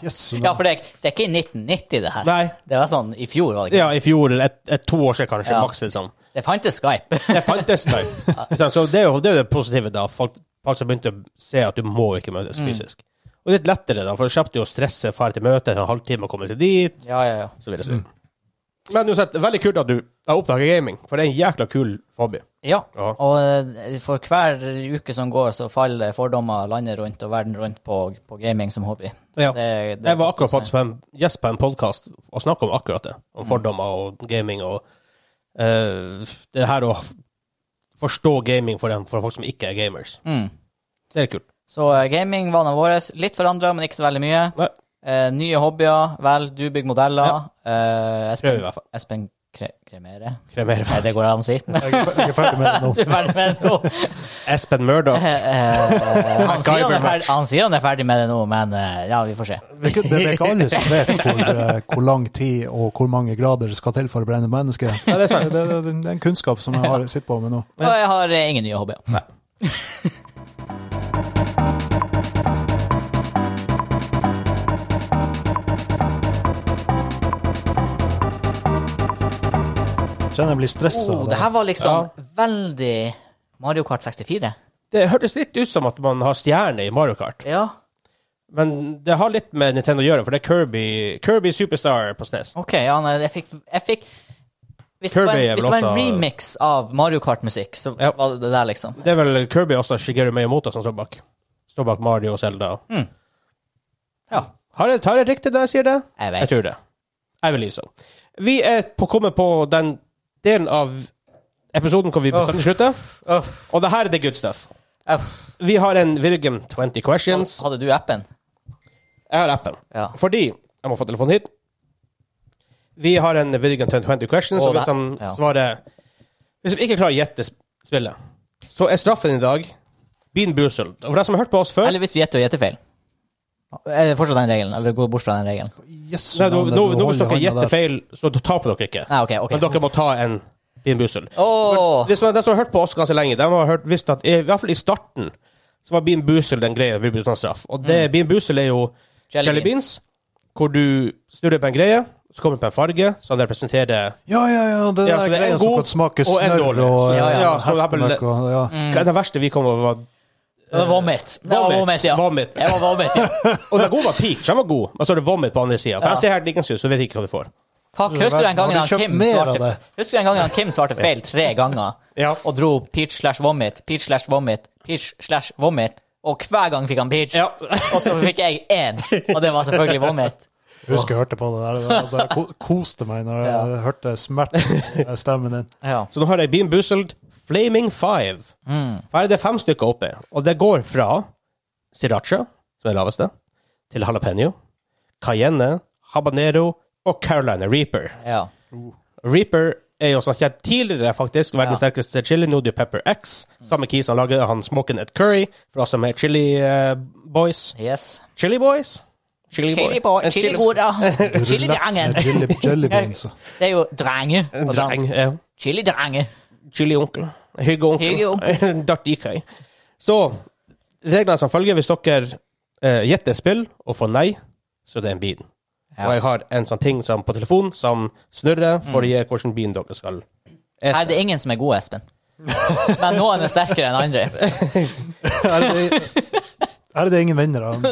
B: Yes,
A: ja, for det, er- det er ikke i 1990, det her.
C: Nei.
A: Det var sånn i fjor. var Det, ikke?
C: Ja, i fjor, eller et, et to år siden kanskje,
A: Ja.
C: maks, liksom.
A: det fantes Skype.
C: Det fantes der. Liksom, så det er jo det, er jo det positive, da. Folk, folk som begynte å se at du må ikke møtes fysisk. Og litt lettere, da, for du slapp jo å stresse, dra til møte, en halvtime å komme til dit.
A: ja, ja, ja.
C: så videre. så videre. Men uansett, veldig kult at du har oppdaget gaming, for det er en jækla kul hobby.
A: Ja,
C: Ja.
A: og eh, for hver uke som går, så faller fordommer landet rundt og verden rundt på, på gaming som hobby.
C: Ja.
A: Det- det er
C: Jeg
A: godt
C: var
A: å
C: akkurat faktisk på en gjest på en podkast og snakka om akkurat det.
A: Mm.
C: Om fordommer og gaming og eh, det her å f- forstå gaming for, dem, for folk som ikke er gamers.
A: Mm.
C: Det er kult.
A: Så eh, gamingvanene våre litt forandra, men ikke så veldig mye.
C: Nei.
A: Eh, nye hobbyer. Vel, du bygger modeller. Eh,
C: Prøv i
A: Espen,
C: hvert fall.
A: Espen Kre Kremere?
C: Kremere.
A: Nei, det går an å si.
B: Jeg er fer- jeg er ferdig med det nå.
A: Du er ferdig med det nå.
C: Espen Murdoch.
A: Eh, eh, han, sier han, er ferdig, han sier han er ferdig med det nå, men eh, ja, vi får se.
B: Det er ikke- det er ikke alle som vet hvor, eh, hvor lang tid og hvor mange grader skal til for å brenne mennesket.
C: Ja, det er
B: Det,
C: sant.
B: det, det, det er en kunnskap som jeg har, sitter på med nå.
A: Og jeg har eh, ingen nye hobbyer.
B: Kjenner jeg blir stressa.
A: Oh, det her var liksom veldig Mario Kart 64.
C: Det hørtes litt ut som at man har stjerne i Mario Kart,
A: Ja,
C: men det har litt med Nintendo å gjøre, for det er Kirby, Kirby Superstar på E SNES.
A: OK. Ja, nei, jeg fikk, jeg fikk hvis, det var en,
C: Kirby er
A: hvis
C: vel
A: det var en
C: også-
A: remix av Mario Kart-musikk, så
C: Ja.
A: var det det der, liksom.
C: Det er vel Kirby også Shigeru Miyamoto som står bak. Står bak Mario og Zelda.
A: Mm. Ja.
C: Har jeg, tar jeg riktig det jeg sier det?
A: Jeg
C: Jeg
A: vet.
C: tror det. Jeg vil lyse. Vi er på, kommet på den delen av episoden hvor vi bestemmer slutter.
A: Uff,
C: Og det her er the good stuff.
A: uff.
C: Vi har en Virgin 20 questions.
A: Hadde du appen?
C: Jeg har appen.
A: Ja.
C: Fordi Jeg må få telefonen hit. Vi har en Virgin 20 questions,
A: Å,
C: og hvis
A: det-
C: de
A: ja.
C: svarer Hvis de ikke klarer å gjette sp- spillet, så er straffen i dag Bean Boozled. Og for de som har hørt på oss før
A: Eller hvis vi gjetter og gjetter feil. Er det fortsatt den regelen? Eller går bort fra den regelen?
B: Yes,
C: Nei, nå,
B: navnet,
C: nå,
B: du
C: nå hvis
B: holder
C: dere
B: handa
C: gjetter
B: der.
C: feil, så taper dere ikke.
A: Nei, OK. ok.
C: Men dere må ta en Bean Boozled.
A: Åh!
C: De som, de som har hørt på oss ganske lenge, de har hørt, visst at i hvert fall i starten så var Bean Boozled en greie vi brukte som straff. Og det, Bean Boozled er jo
A: Jelly
C: jelly
A: beans.
C: beans, hvor du snurrer på en greie, så kommer det på en farge, som representerer
B: Ja, ja, ja. Det
C: Ja, så
B: der
C: det er en
B: greia som
C: god
B: kan smake
C: og en
B: snørr og,
C: dårlig. Så-
A: ja,
B: eh,
A: ja,
C: så det er bare-
B: hestemøkk og ja.
C: Hva er det verste vi kom over? var-
A: Det var vomit. Det var
C: Vomit.
A: vomit, ja.
C: Vomit.
A: Det var vomit, ja.
C: Og den gode var peach, den var god, men så er det vomit på andre sida. For
A: Ja.
C: jeg ser her Dickens-hus, så vet jeg ikke hva du får.
A: Fuck, husker du den gangen han
B: Har du kjøpt
A: Kim
B: mer av
A: svarte,
B: det?
A: husker du den gangen han Kim svarte feil tre ganger?
C: Ja.
A: Og dro peach slash vomit, peach slash vomit, peach slash vomit. Og hver gang fikk han peach.
C: Ja.
A: Og så fikk jeg én, og det var selvfølgelig vomit.
B: Jeg husker jeg hørte på det der. Det- det- Jeg ko- koste meg når jeg hørte smerten i stemmen din.
A: Ja.
C: Så nå har jeg Bean Boozled Flaming Five.
A: Mm.
C: For her er det fem stykker oppe, og det går fra sriracha, som er det laveste, til jalapeño, cayenne, habanero og Carolina Reaper.
A: ja.
C: Reaper er jo sånn kjent tidligere, faktisk, verdens
A: Ja.
C: sterkeste chili, Nodi Pepper X. Samme kis han lager, han smoking et curry, for oss som er chili eh, boys.
A: Yes.
C: Chili boys? Chili, Altså,
A: Chili
C: boy.
A: på,
C: En
A: chili goda. Chili
B: Rulett
A: drangen.
B: med jelly, jelly beans.
A: Det er jo drenge på
C: Dreng,
A: dansk.
C: ja.
A: Chili drange.
C: Chili-onkel. Hygge-onkel.
A: Hygge-onkel.
C: Dartikøy. Så reglene som følger, hvis dere eh, gjetter spill og får nei, så det er en bean.
A: Ja. Mm.
C: Og jeg har en sånn ting som på telefon som snurrer for å gi hvilken bean dere skal
A: Her er det ingen som er gode, Espen. Men noen er sterkere enn andre.
B: Her er det- her er det ingen venner av.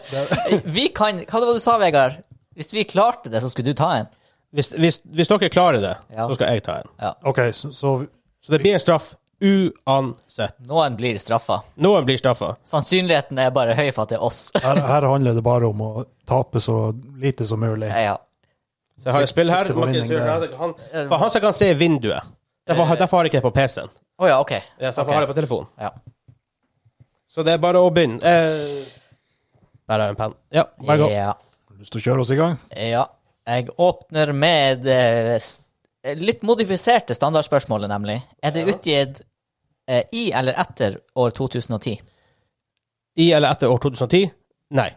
A: Vi kan Hva det var det du sa, Vegard? Hvis vi klarte det, så skulle du ta en.
C: Hvis, hvis, hvis dere klarer det,
A: Ja.
C: så skal jeg ta en.
B: OK, så, så
C: Så det blir en straff uansett.
A: Noen blir straffa.
C: Noen blir straffa.
A: Sannsynligheten er bare høy for at det er oss.
B: her, her handler det bare om å tape så lite som mulig.
A: Ja, ja.
C: Så Jeg har et spill her.
B: Sitter på
C: Martin
B: vinning,
C: Sørheim, Han, for han som kan se vinduet. Derfor, har- derfor har jeg ikke det på PC-en.
A: Å ja, OK.
C: Ja,
A: Eh.
C: så derfor
A: Ok.
C: har jeg det på telefonen.
A: Ja.
C: Så det er bare å begynne. Eh, der er en penn. Ja, bare gå.
A: Ja.
B: Har du lyst til å kjøre oss i gang?
A: ja. Jeg åpner med eh, s- eh, litt modifiserte standardspørsmålet, nemlig. Er det utgitt eh, i eller etter år 2010?
C: I eller etter år 2010? Nei.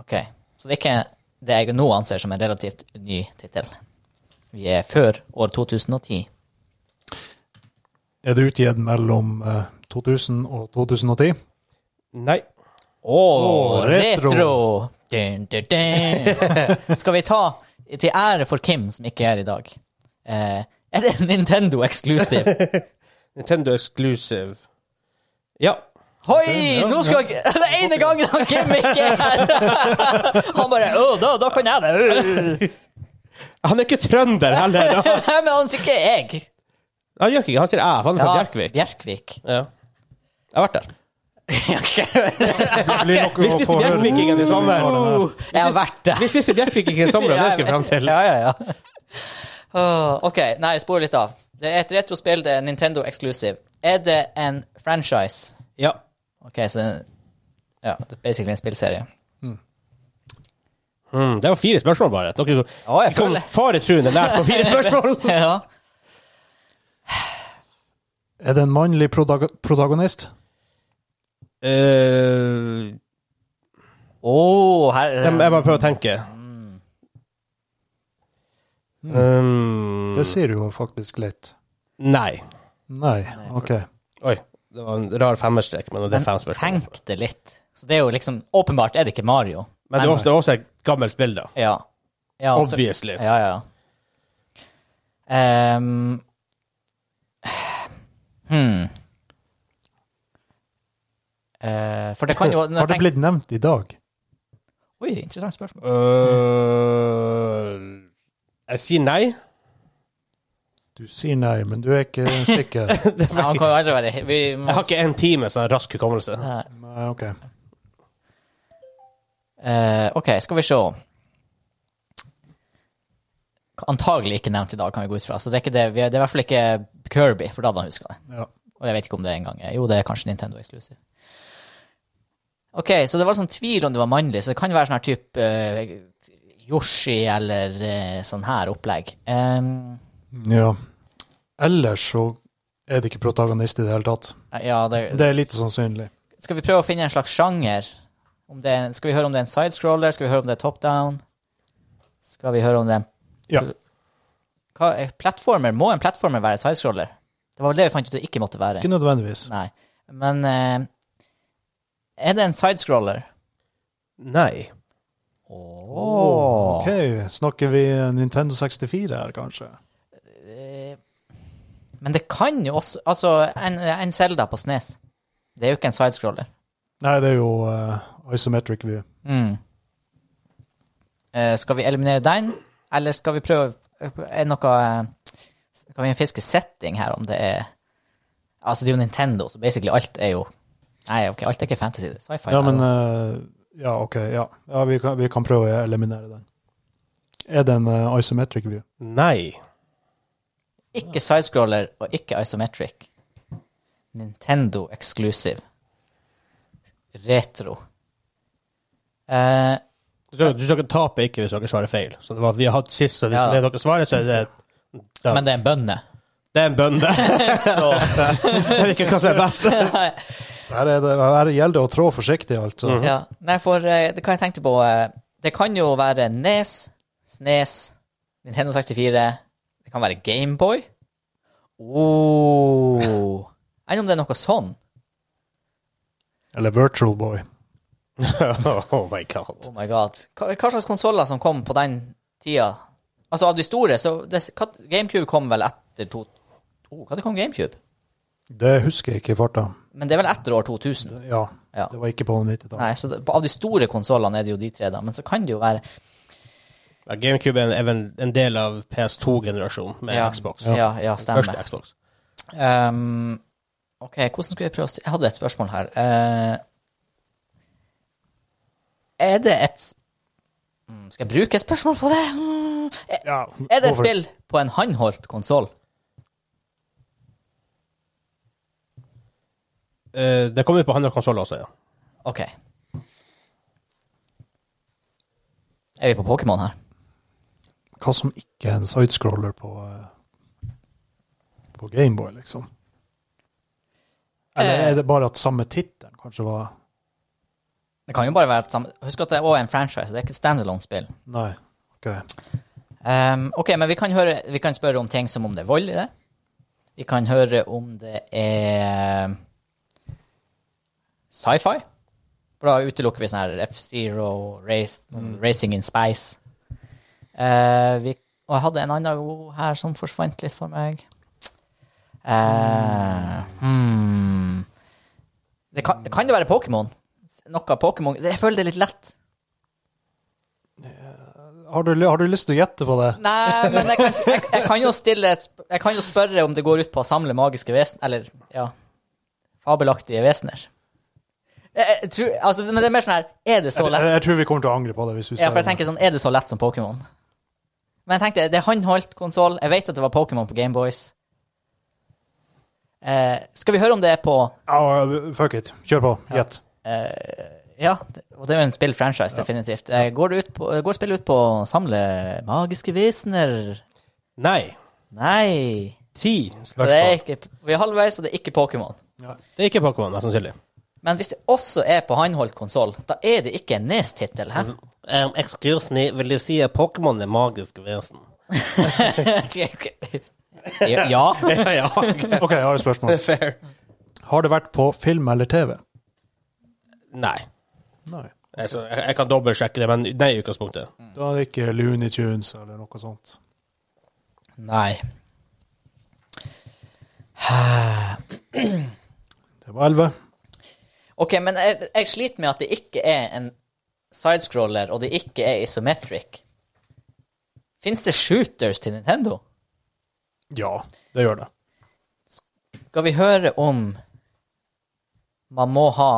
A: OK. Så det er ikke det jeg nå anser som en relativt ny tittel. Vi er før år 2010.
B: Er det utgitt mellom eh, 2000 og 2010?
C: Nei.
A: Å, retro!
B: retro.
A: Dun, dun, dun. Skal vi ta til ære for Kim, som ikke er i dag. Eh, er det en Nintendo exclusive?
C: Nintendo Exclusive. Ja.
A: Hoi! Nå skal jeg Den ene gangen han Kim ikke er her! Han bare Å, da, da kan jeg det.
C: Han er ikke trønder heller. da.
A: Nei, men han sier ikke jeg.
C: Han gjør ikke det. Han sier æ, for han er fra Bjerkvik.
A: Bjerkvik.
C: Ja. Jeg har vært der.
B: Det blir nok
C: Vi spiste
B: få høre-
C: Bjerkvikingen i sommer.
A: Uh, Jeg har vært der.
C: Vi spiste Bjerkvikingen i sommer, og det skal jeg fram til.
A: Ja, ja, ja. Åh, OK, nei, spor litt av. Det er et retrospill, det er Nintendo exclusive. Er det en franchise?
C: Ja.
A: OK, så Ja, det er basically en spillserie.
C: Mm, det var fire spørsmål, bare. Dere
A: Ja, jeg
C: kom
A: føler
C: faretruende nært på fire spørsmål.
A: Ja.
B: Er det en mannlig protago- protagonist?
C: Eh,
A: Åh, her
C: jeg, jeg bare prøver å tenke.
A: eh, mm.
C: Um,
B: Det sier jo faktisk litt.
C: nei.
B: Nei, OK.
C: Oi, det var en rar femmerstrek, men det er fem spørsmål.
A: Tenk det litt. Så det er jo liksom Åpenbart er det ikke Mario.
C: Men det er også, det er også et gammelt spill, da.
A: Ja. ja så-
C: Obviously.
A: Ja, ja. Ehm, hmm. Eh, for det kan jo
B: Har det blitt nevnt i dag?
A: Oi, interessant spørsmål.
C: Øh, jeg sier nei.
B: Du sier nei, men du er ikke sikker.
A: Nei, han kan jo aldri være vi må,
C: Jeg har ikke en time sånn rask hukommelse.
A: Nei.
B: Nei, OK.
A: Eh, OK, skal vi se. Antagelig ikke nevnt i dag, kan vi gå ut fra. Så det er, ikke det. Vi er, det er i hvert fall ikke Kirby, for da hadde han huska det.
B: Ja.
A: Og jeg vet ikke om det engang er Jo, det er kanskje Nintendo Exclusive. OK, så det var sånn tvil om det var mannlig, så det kan være sånn her type eh, Yoshi eller eh, sånn her opplegg. Ehm,
B: ja. Ellers så er det ikke protagonist i det hele tatt.
A: ja, det,
B: Det er lite sannsynlig.
A: Skal vi prøve å finne en slags sjanger? Om det er, en- skal vi høre om det er en sidescroller? Skal vi høre om det er top down? Skal vi høre om det er en
B: Ja.
A: Hva er plattformer? Må en plattformer være sidescroller? Det var vel det vi fant ut det ikke måtte være.
B: Ikke nødvendigvis.
A: Nei. Men eh, er det en sidescroller?
C: Nei.
A: Åh.
B: OK, snakker vi Nintendo 64 her, kanskje?
A: Eh, Men det kan jo også Altså, en, en Zelda på Snes. Det er jo ikke en sidescroller.
B: Nei, det er jo eh, isometric view.
A: Mm. Eh, skal vi eliminere den, eller skal vi prøve Er det noe eh, Kan vi fiske setting her, om det er Altså, det er jo Nintendo, så basically alt er jo Nei, ok, alt er ikke fantasy. Det er sci-fi.
B: Ja,
A: der
B: men
A: også.
B: eh, Ja, OK. Ja, ja vi, kan, vi kan prøve å eliminere den. Er det en eh, isometric view?
C: Nei.
A: Ikke sidescroller og ikke isometric. Nintendo exclusive. Retro. Eh,
C: Du skal, du skal tape ikke hvis dere svarer feil. Så det var, vi har hatt sist, så hvis
A: Ja.
C: det er dere svarer, så er det Ja.
A: men det er en bønne.
C: Det er en bønne.
A: Så
C: Jeg vet ikke hva som er best.
A: Nei.
B: Her, er det, her gjelder det å trå forsiktig, altså.
A: Mhm. Ja. Nei, for eh, det kan jeg tenkte på eh, Det kan jo være E Nes, Snes, Nintendo 64 Det kan være Gameboy. Oh. Jeg vet ikke om det er noe sånn.
B: Eller Virtual Boy.
C: oh my god.
A: Oh my god. Hva, hva slags konsoller som kom på den tida? Altså, av de store, så det, hva, GameCube kom vel etter to... Oh, hva det kom GameCube?
B: Det husker jeg ikke i farta.
A: Men det er vel etter år 2000?
B: Ja,
A: Ja.
B: det var ikke på 90-tallet.
A: Nei, så det, av de store konsollene er det jo de tre, da. Men så kan det jo være
C: Ja, GameCube er en, en del av PS2-generasjonen med
A: Ja.
C: Xbox.
A: Ja, ja stemmer.
C: Første Xbox.
A: Ehm, ok, hvordan skulle jeg prøve å styre Jeg hadde et spørsmål her. Eh, er det et Mm, Skal jeg bruke et spørsmål på det? Mm, er-
B: Ja,
A: Er det et
B: over.
A: spill på en håndholdt konsoll?
C: Eh, det kommer jo på andre konsoller også, ja.
A: OK. Er vi på Pokémon her?
B: Hva som ikke er en sidescroller på, eh, på Gameboy, liksom. Eller
A: Eh.
B: er det bare at samme tittelen kanskje var
A: Det kan jo bare være et samme Husk at det er også en franchise, det er ikke et standalone-spill.
B: Nei. OK.
A: Ehm, OK, men vi kan, høre, vi kan spørre om ting som om det er vold i det. Vi kan høre om det er sci-fi. For da utelukker vi sånn her F-Zero, race, sånn Racing in Space. Eh, vi, og jeg hadde en annen god her som forsvant litt for meg. Eh, hmm. det kan, kan det være Pokémon? Noe Pokémon Jeg føler det er litt lett.
B: Har du, har du lyst til å gjette på det?
A: Nei, men jeg kan, jeg, jeg kan jo stille et, sp- Jeg kan jo spørre om det går ut på å samle magiske vesen Eller, ja Fabelaktige vesener jeg, jeg tror, altså, Men det er mer sånn her Er det så
B: Jeg,
A: lett?
B: jeg tror vi kommer til å angre på det. hvis vi
A: Ja,
B: spør
A: for jeg
B: det.
A: tenker sånn Er det så lett som Pokémon? Men jeg tenkte Det er håndholdt konsoll Jeg vet at det var Pokémon på Gameboys eh, Skal vi høre om det er på
B: Ja, fuck it. Kjør på. Gjett.
A: eh, Ja, det- og det er jo en spillfranchise definitivt eh, Går, det ut på, går spillet ut på å samle magiske vesener?
C: Nei.
A: Nei
C: Ti
A: Det er
C: spørsmål.
A: ikke, vi er halvveis, og det er ikke Pokémon.
C: Det er ikke Pokémon, mest sannsynlig.
A: Men hvis det også er på håndholdt konsoll, da er det ikke en Nes-tittel, hæ?
C: Um, excuse me, vil du si at Pokémon er magisk vesen?
A: ja.
C: ja, ja.
B: OK, jeg har et spørsmål.
C: Fair.
B: Har det vært på film eller TV?
C: Nei.
B: Nei.
C: Altså, jeg, jeg kan dobbeltsjekke det, men nei i utgangspunktet.
A: Mm.
B: Da er det ikke Looney Tunes eller noe sånt.
A: Nei.
B: Det var 11.
A: OK, men jeg, jeg sliter med at det ikke er en sidescroller, og det ikke er isometric. Fins det shooters til Nintendo?
B: Ja, det gjør det.
A: Skal vi høre om man må ha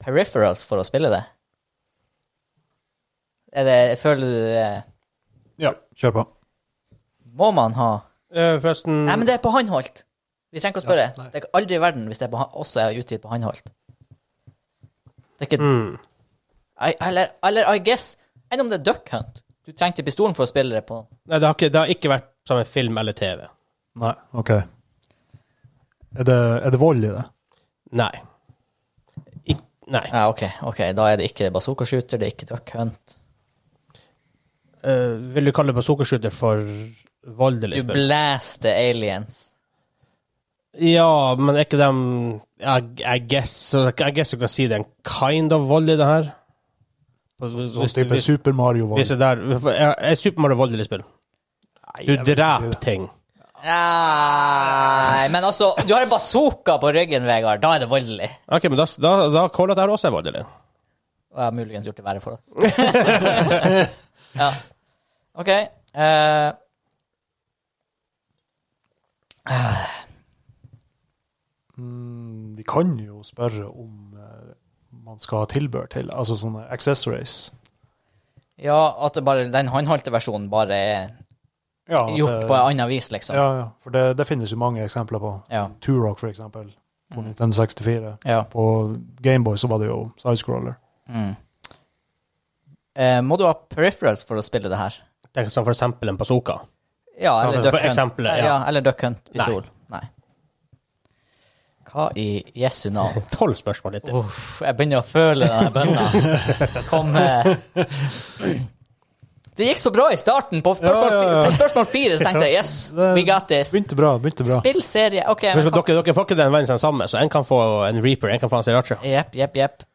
A: peripherals for å spille det? Er det Føler du det
B: Ja, kjør på.
A: Må man ha
C: Eh, forresten
A: Nei, men det er på håndholdt! Vi trenger ikke å spørre.
B: Ja, nei.
A: det er aldri i verden hvis det er på, han- også er utgitt på håndholdt. Det er ikke
C: Mm.
A: I, eller, eller I guess Enn om det er Duck Hunt? Du trengte pistolen for å spille det på
C: Nei, det har, ikke, det har ikke vært som en film eller TV.
B: Nei, OK. Er det, er det vold i det?
C: Nei. Ik nei.
A: Ja, OK, ok, da er det ikke bazooka shooter, det er ikke Duck Hunt.
C: Eh, vil du kalle det bazooka-shooter for voldelig
A: Du
C: spill?
A: blaster aliens.
C: Ja, men er ikke dem I, I, guess, så I guess du kan si det er en kind of voldelig, det her.
B: Sånn
C: Hvis, du-
B: type
C: hvis,
B: Super Mario-vold?
C: hvis det der Er er Super Mario voldelig spill? Du
B: jeg vil ikke si
C: dreper
B: det.
C: ting.
A: Nei, men altså Du har en bazooka på ryggen, Vegard. Da er det voldelig.
C: OK, men da, da, da caller jeg at det her også er voldelig.
A: Og jeg har muligens gjort det verre for oss. ja. OK. eh.
B: Mm, vi kan jo spørre om eh, man skal ha tilbør til, altså sånne accessories.
A: ja, at det bare, den håndholdte versjonen bare er
B: Ja, at
A: gjort
B: det-
A: på annet vis, liksom.
B: Ja, ja. For det, det finnes jo mange eksempler på.
A: Ja.
B: Turok, for eksempel. På
A: Mm.
B: Nintendo 64.
A: Ja.
B: På Gameboy så var det jo sidescroller.
A: Mm. Eh, må du ha peripherals for å spille det her?
C: Tenk som for eksempel en bazooka.
A: Ja,
C: Ja,
A: eller
C: for
A: Duck Hunt.
C: eksempelet, ja.
A: eller Duck Hunt-pistol. Nei. Hva i Jesu navn?
C: Tolv spørsmål litt.
A: Uff, jeg begynner å føle denne bønna komme. Det gikk så bra i starten. På spørsmål,
B: Ja,
A: fi-
B: ja, ja.
A: på spørsmål fire så tenkte jeg yes,
B: Det-
A: we got this.
B: Begynte bra, begynte bra.
A: Spillserie OK.
C: Men så dere, dere får ikke den vennen sin samme, så en kan få en Reaper, en kan få en Siracha.
A: Jepp, jepp, jepp.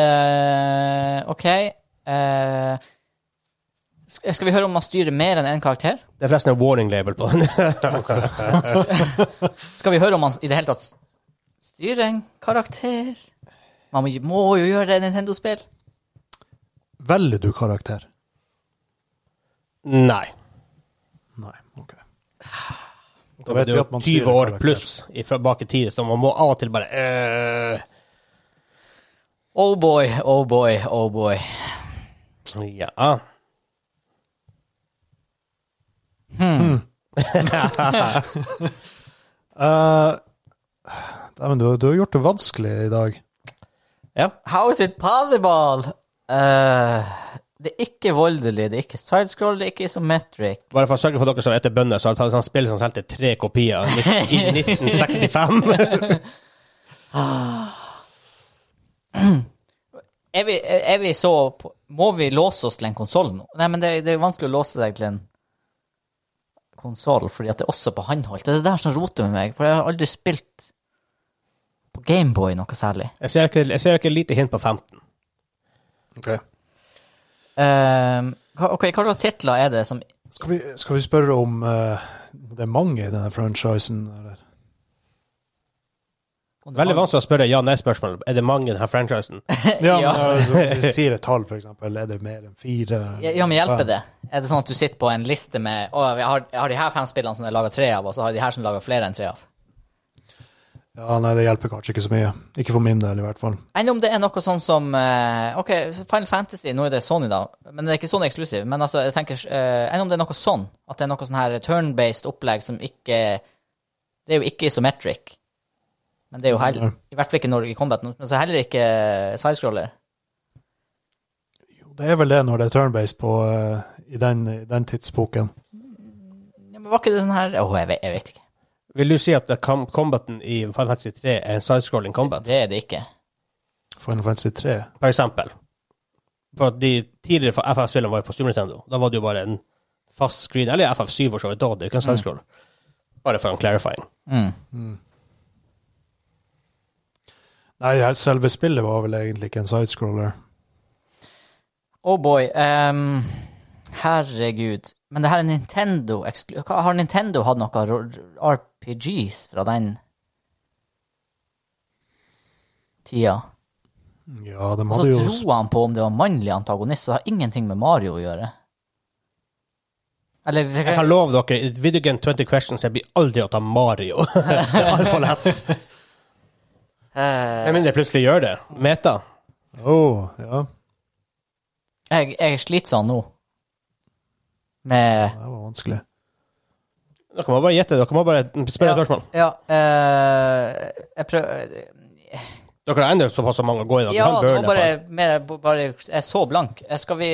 A: Eh, OK. eh, sk- skal vi høre om man styrer mer enn én karakter?
C: Det er forresten en warning label på den.
A: Skal vi høre om han i det hele tatt styrer en karakter? Man må, må jo gjøre det i Nintendo-spill.
B: Velger du karakter?
C: Nei.
B: Nei, ok.
C: Da vet vi at man
B: styrer
C: 20 år
B: karakter.
C: pluss i- fra bak i tid, så man må av og til bare øh,
A: Oh boy, oh boy, oh boy.
C: Ja.
B: Eh, Dæven, du, du har gjort det vanskelig i dag.
C: ja.
A: How is it possible? Eh, det er ikke voldelig, det er ikke sidescroll, det er ikke isometric.
C: Bare for å sørge for dere som eter bønder, så har jeg tatt et sånt spill som solgte tre kopier i 1965.
A: Er vi, er vi så på, Må vi låse oss til en konsoll nå? Nei, men det, det er vanskelig å låse deg til en konsoll, fordi at det er også på håndholdt. Det er det der som roter med meg, for jeg har aldri spilt på Gameboy noe særlig.
C: Jeg ser ikke, jeg ser ikke lite hint på 15.
A: Eh, hva- ok, Hva slags titler er det som
B: Skal, vi, skal vi spørre om eh, det er mange i denne franchisen? Eller?
C: Veldig vanskelig å spørre ja-nei-spørsmål. Er det mange i denne franchisen?
B: Ja,
A: Ja.
B: men, eh, Hvis vi sier et tall, for eksempel, er det mer enn fire?
A: Ja, men hjelper
B: fem?
A: det? Er det sånn at du sitter på en liste med Å, jeg har, jeg har de her fem spillene som jeg lager tre av, og så har jeg de her som jeg lager flere enn tre av?
B: Ja, nei, det hjelper kanskje ikke så mye. Ikke for min del, i hvert fall.
A: Enn om det er noe sånn som eh, OK, Final Fantasy, nå er det Sony, da, men det er ikke Sony eksklusiv. Men altså, jeg tenker eh, Enn om det er noe sånn? At det er noe sånn her turn-based opplegg som ikke Det er jo ikke isometric. Men det er jo heller I hvert fall ikke når i combat, men så heller ikke eh, sidescroller.
B: Jo, det er vel det når det er turnbase på eh, i den, i den tidsboken.
A: Ja, men var ikke det sånn her Å, jeg, vet, jeg vet ikke.
C: Vil du si at det com- combaten i Final Fantasy 3 er en sidescrolling combat?
A: Det er det ikke.
B: Final Fantasy 3.
C: For eksempel. For at de tidligere FF-spillene var jo på Super Nintendo. Da var det jo bare en fast screen. Eller FF7 for så vidt. Da hadde det ikke en sidescroll. Bare for en clarifying.
A: Mm.
B: Nei, selve spillet var vel egentlig ikke en sidescroller.
A: Oh boy. ehm, herregud. Men det her er Nintendo eksklu... Hva- Har Nintendo hatt noe ro- RPGs fra den tida?
B: Ja, de
A: Og så
B: hadde jo
A: dro han på om det var mannlig antagonist, så det har ingenting med Mario å gjøre. Eller
C: Jeg kan love dere, i Video Game 20 Questions jeg blir aldri å ta Mario. det er altfor lett.
A: Eh,
C: Med mindre jeg plutselig gjør det. Meta.
B: Åh, ja.
A: jeg, jeg sliter sånn nå. Med
B: Det var vanskelig.
C: Dere må bare gjette. Dere må bare spørre spørsmål.
A: Ja, eh, jeg prøver
C: Dere har ennå såpass mange å gå i. Dere
A: Ja,
C: kan
A: det var
C: burne på en.
A: bare, mer, bare Jeg er så blank. Eh, Skal vi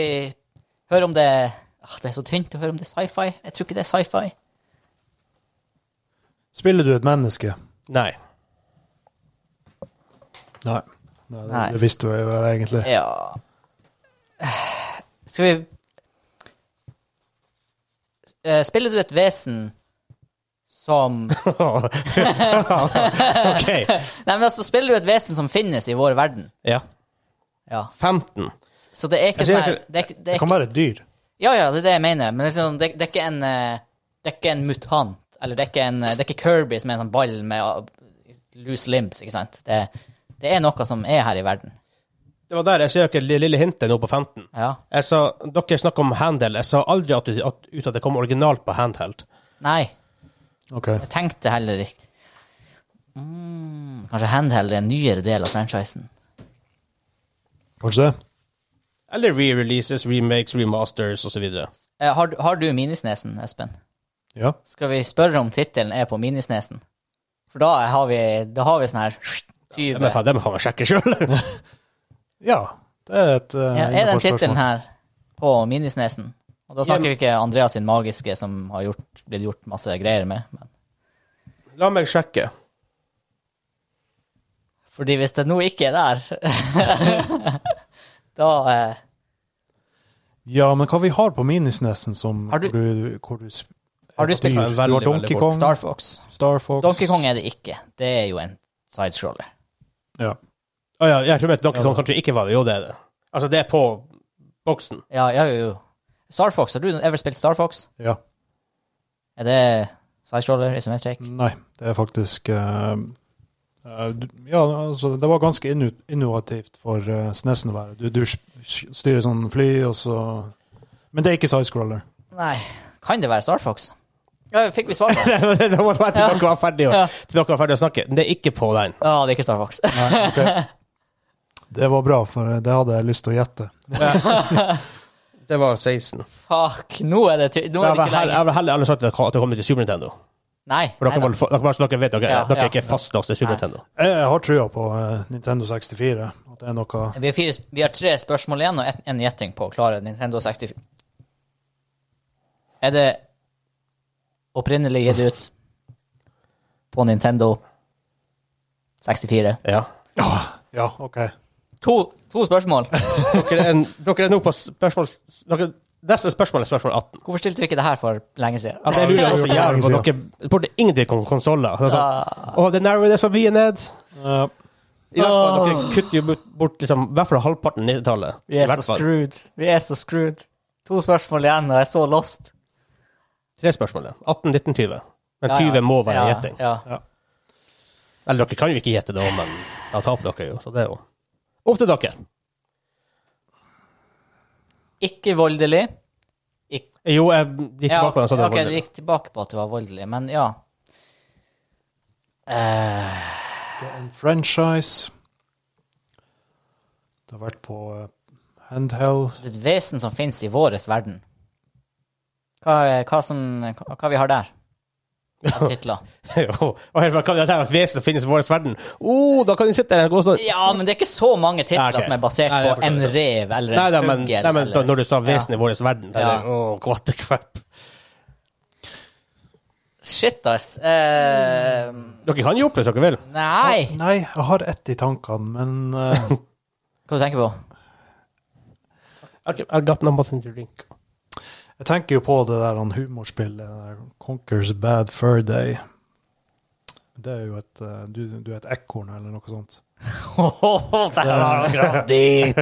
A: høre om det ah, Det er så tynt å høre om det er sci-fi. Jeg tror ikke det er sci-fi.
B: Spiller du et menneske?
C: Nei.
B: Nei. Nei, det,
A: Nei.
B: det visste du jo egentlig.
A: Ja Eh, Skal vi Eh, Spiller du et vesen som Nei,
C: OK.
A: men altså, spiller du et vesen som finnes i vår verden?
C: Ja.
A: Ja.
C: 15.
A: Så det er ikke
C: Jeg sier
A: sånn her
C: ikke-
A: det er, ikke- det er
B: Det kan
A: ikke,
B: være et dyr.
A: Ja, ja, det er det jeg mener, men liksom, det, det er ikke en eh, Det er ikke en mutant, eller det er ikke, en, eh, det er ikke Kirby som er en sånn ball med ah, loose limbs, ikke sant? Det, det er noe som er her i verden.
C: Det var der jeg ser dere lille hintet nå på 15.
A: Ja.
C: Jeg sa, dere snakker om handheld. Jeg sa aldri at, du- at, ut at det kom originalt på handheld.
A: Nei,
B: Ok.
A: jeg tenkte heller ikke mm, Kanskje Handheld er en nyere del av franchisen.
B: Kanskje det?
C: Eller re-releases, remakes, remasters osv.
A: Eh, har, du- har du Minisnesen, Espen?
B: Ja.
A: Skal vi spørre om tittelen er på Minisnesen? For da har vi, da har vi sånn her
C: Det må jeg
A: 20
C: faen- det må jeg faen meg sjekke sjøl.
B: Ja. Det er et uh,
C: Eh,
A: Ja, er den tittelen her på Minisnesen? Og da snakker
C: Ja,
A: vi ikke Andreas sin magiske, som har gjort, blitt gjort masse greier med. Men.
C: La meg sjekke.
A: Fordi hvis det nå ikke er der, da eh,
B: Ja, men hva vi har på Minisnesen som
A: Har du-
B: hvor du, hvor du sp-
A: Har du
B: et
A: spilt-
B: dyr?
C: Veldig,
B: Du har
C: veldig
B: Donkey
C: bort.
B: Kong, Star,
A: Star Fox.
B: Fox
A: Donkey Kong er det ikke. Det er jo en sidescroller.
B: Ja.
C: Å ja, jeg tror at Donkey Kong kanskje ikke var det. Jo, det er det. Altså, det er på boksen.
A: Ja, ja, jo, jo. Star Fox, har du ever spilt Star Fox?
B: ja.
A: Er det sidescroller, isometric?
C: Mm.
B: Nei, det er faktisk eh, eh, du- Ja, altså, det var ganske innu- innovativt for eh, SNES-en å være. Du, du s- styrer sånn fly, og så Men det er ikke sidescroller.
A: Nei, kan det være Star Fox? Ja, fikk vi svar på det?
C: det var til dere var ferdige å- til dere var ferdige å snakke. Det er ikke på den.
A: Ja, det er ikke Star Fox.
B: Nei, ok. Det var bra, for det hadde jeg lyst til å gjette.
C: Det var 16.
A: Fuck, nå er det, ty nå
C: Jeg
A: er det
C: vil
A: ikke lenger.
C: heller, heller sagt at det kommer til Super Nintendo.
A: Nei.
C: For dere,
A: nei da.
C: må- for, dere, bare så dere vet dere,
A: Ja,
C: dere
A: ja.
C: er ikke fastlåst til Super
A: Nei.
C: Nintendo.
B: Jeg har trua på eh, Nintendo 64. At det er noe
A: Vi har, fire, vi har tre spørsmål igjen og ett- en gjetting på å klare Nintendo 64. Er det opprinnelig gitt ut på Nintendo 64?
C: Ja.
B: Ja, OK.
A: To, to spørsmål.
C: Dere, er, dere er nå på spørsmål dere, Neste spørsmål er spørsmål 18.
A: Hvorfor stilte vi ikke det her for lenge siden?
C: Altså, jeg lurer også
B: Ja,
C: jævlig på
B: ja.
C: dere Det burde ingenting om konsoller.
A: Altså,
C: Det er sånn, «Å, det nærmer det så mye ned.
B: Ja.
C: I hvert fall, dere kutter jo bort- bort liksom, i hvert fall halvparten av 90-tallet.
A: Vi er
C: I hvert
A: så
C: fall.
A: screwed. Vi er så screwed. To spørsmål igjen, og jeg er så lost.
C: Tre spørsmål. ja. 18, 19, 20. Men
A: Ja, ja.
C: 20 må være
A: Ja,
C: gjetting.
A: Ja.
C: Eller dere kan jo ikke gjette det òg, men da taper dere jo. Så det er jo opp til dere.
A: Ikke voldelig. Ikke,
C: Jo, jeg gikk
A: ja,
C: tilbake på den. Så det var
A: ok, du
C: voldelig.
A: gikk tilbake på at det var voldelig, men ja. Eh,
B: Det er en franchise. Det har vært på eh, handheld.
A: det er et vesen som finnes i vår verden. Hva, er- hva, som, hva, hva vi har der? Av titler.
C: Jo. Og jeg bare, hva er det her et vesen som finnes i vår verden? Oh, da kan du sitte der og gå sånn
A: Ja, men det er ikke så mange titler
C: Ja, ok.
A: som er basert
C: Nei, jeg
A: på
C: forstår
A: en
C: det.
A: rev eller
C: Nei,
A: en
C: da, men,
A: fugl.
C: nei, men da,
A: eller-
C: når du sa vesen i vår verden da,
A: Ja.
C: det- Åh, what the crap.
A: Shit, ass. Eh,
C: Dere kan jo opp hvis dere vil.
A: nei!
B: Nei, jeg har ett i tankene, men eh,
A: Hva du tenker du på?
C: Okay, I got nothing to drink.
B: jeg tenker jo på det der han humorspillet der, Conquers Bad Fur Day. Det er jo et eh, Du, du er et ekorn, eller noe sånt.
A: Der var han gravd dit!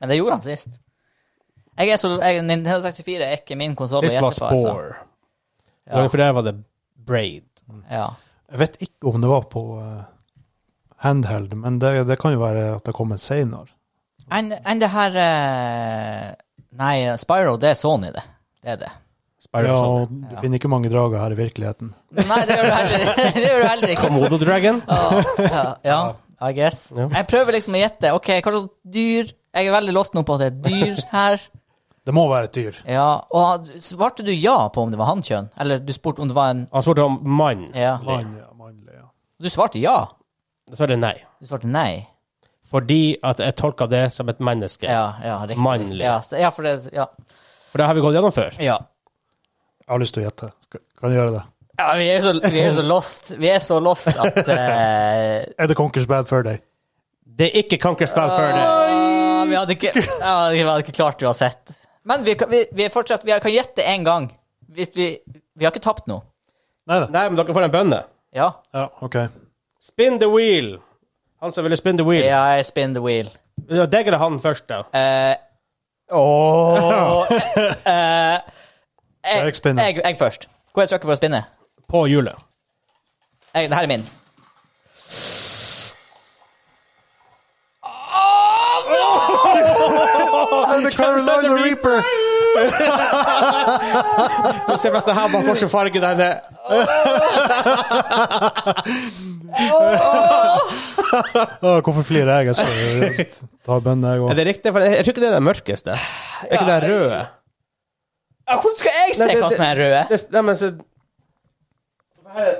A: Men det gjorde han sist. Jeg er så, jeg, Nintendo 64 er ikke min konsoll å
C: This
A: gjette
C: was
A: på. Altså.
C: Spore.
A: Ja,
C: For der var det Braid.
A: ja.
B: Jeg vet ikke om det var på eh, handheld, men det, det kan jo være at det kommer senere.
A: Enn enn det her eh, Nei, Spyro, det er Sony, det. Det er det.
C: Spyro
B: sånn? Ja,
C: Summer.
B: og du finner ikke mange drager her i virkeligheten.
A: Nei, det gjør du heller, det gjør du heller ikke.
C: Komodo Dragon.
A: Ja, ja, I guess.
C: Ja.
A: Jeg prøver liksom å gjette. Ok, hva slags dyr? Jeg er veldig lost nå på at det er dyr her.
B: Det må være et dyr.
A: Ja, og Svarte du ja på om det var hannkjønn? Eller du spurte om det var en
C: Han spurte om mann.
A: Ja.
B: Mann, ja, mannlig, ja.
A: Du svarte ja.
C: Så er det nei.
A: Du svarte nei.
C: Fordi at jeg tolka det som et menneske.
A: Ja, ja, riktig.
C: Mannlig.
A: Ja, så- ja, for det Ja.
C: For det har vi gått gjennom før.
A: ja.
B: Jeg har lyst til å gjette. Skal, kan jeg gjøre det?
A: Ja, vi er jo så, vi er jo så lost. Vi er så lost at eh,
B: Er det Conquers Bad Fur Day?
C: Det er ikke Conquer Spell før det.
A: ah, vi, hadde ikke, ja, vi hadde ikke klart uansett. Men vi, kan- vi, vi er fortsatt Vi kan gjette én gang. Hvis vi, vi har ikke tapt noe.
B: Nei da.
C: Nei, men dere får en bønne.
A: Ja.
B: Ja, OK.
C: Spin the wheel. Han som ville spin the wheel.
A: ja, I spin the wheel.
C: Ja. Deg eller han først, da?
A: Eh, åh, eh,
B: Jeg spinner.
A: Jeg, jeg først. Hvor er trykket for å spinne?
C: På hjulet.
A: Jeg, det her er min.
B: The Carolina Reaper!
C: Du ser forresten her bak hvilken farge den er.
B: Å, hvorfor flirer jeg? Jeg skal jo ta bønnen, jeg
C: Er
B: òg.
C: det riktig? For jeg jeg tror ikke det er den mørkeste. Er ikke den røde?
A: Ja, Hvordan skal jeg se
C: Nei, det-
A: hva som er røde?
C: Det, nei, men så Her er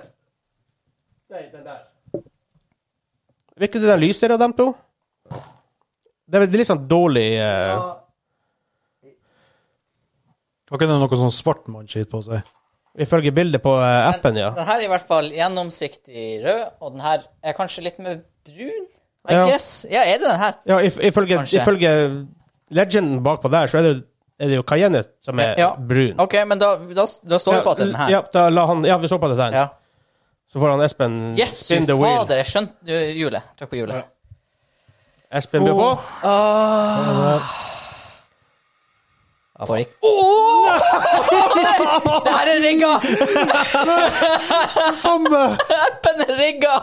C: Nei, den der. Hvilken er den lysere av dem to? Det er vel- det er litt sånn dårlig eh,
B: Har ikke det noe sånn svart mannskitt på seg?
C: Ifølge bildet på eh, appen, ja.
A: Den her er i hvert fall gjennomsiktig rød, og den her er kanskje litt mer brun. I
C: Ja.
A: guess. Ja, er det den her?
C: ja if, ifølge,
A: Kanskje.
C: ifølge legenden bakpå der, så er det, jo- er det jo Cayenne som er
A: Ja.
C: brun.
A: OK, men da, da, da står vi på at det er den her.
C: Ja, da la han, ja, vi så på det der.
A: Ja.
C: Så får han Espen
A: Yes,
C: spin
A: fy
C: the wheel.
A: fader, jeg skjønte øh, hjulet. Trykk på hjulet.
C: Espen blir
A: Oh.
C: på.
A: Ja, får ikke- Åh! Det her er rigga!
B: Samme!
A: Appen er rigga!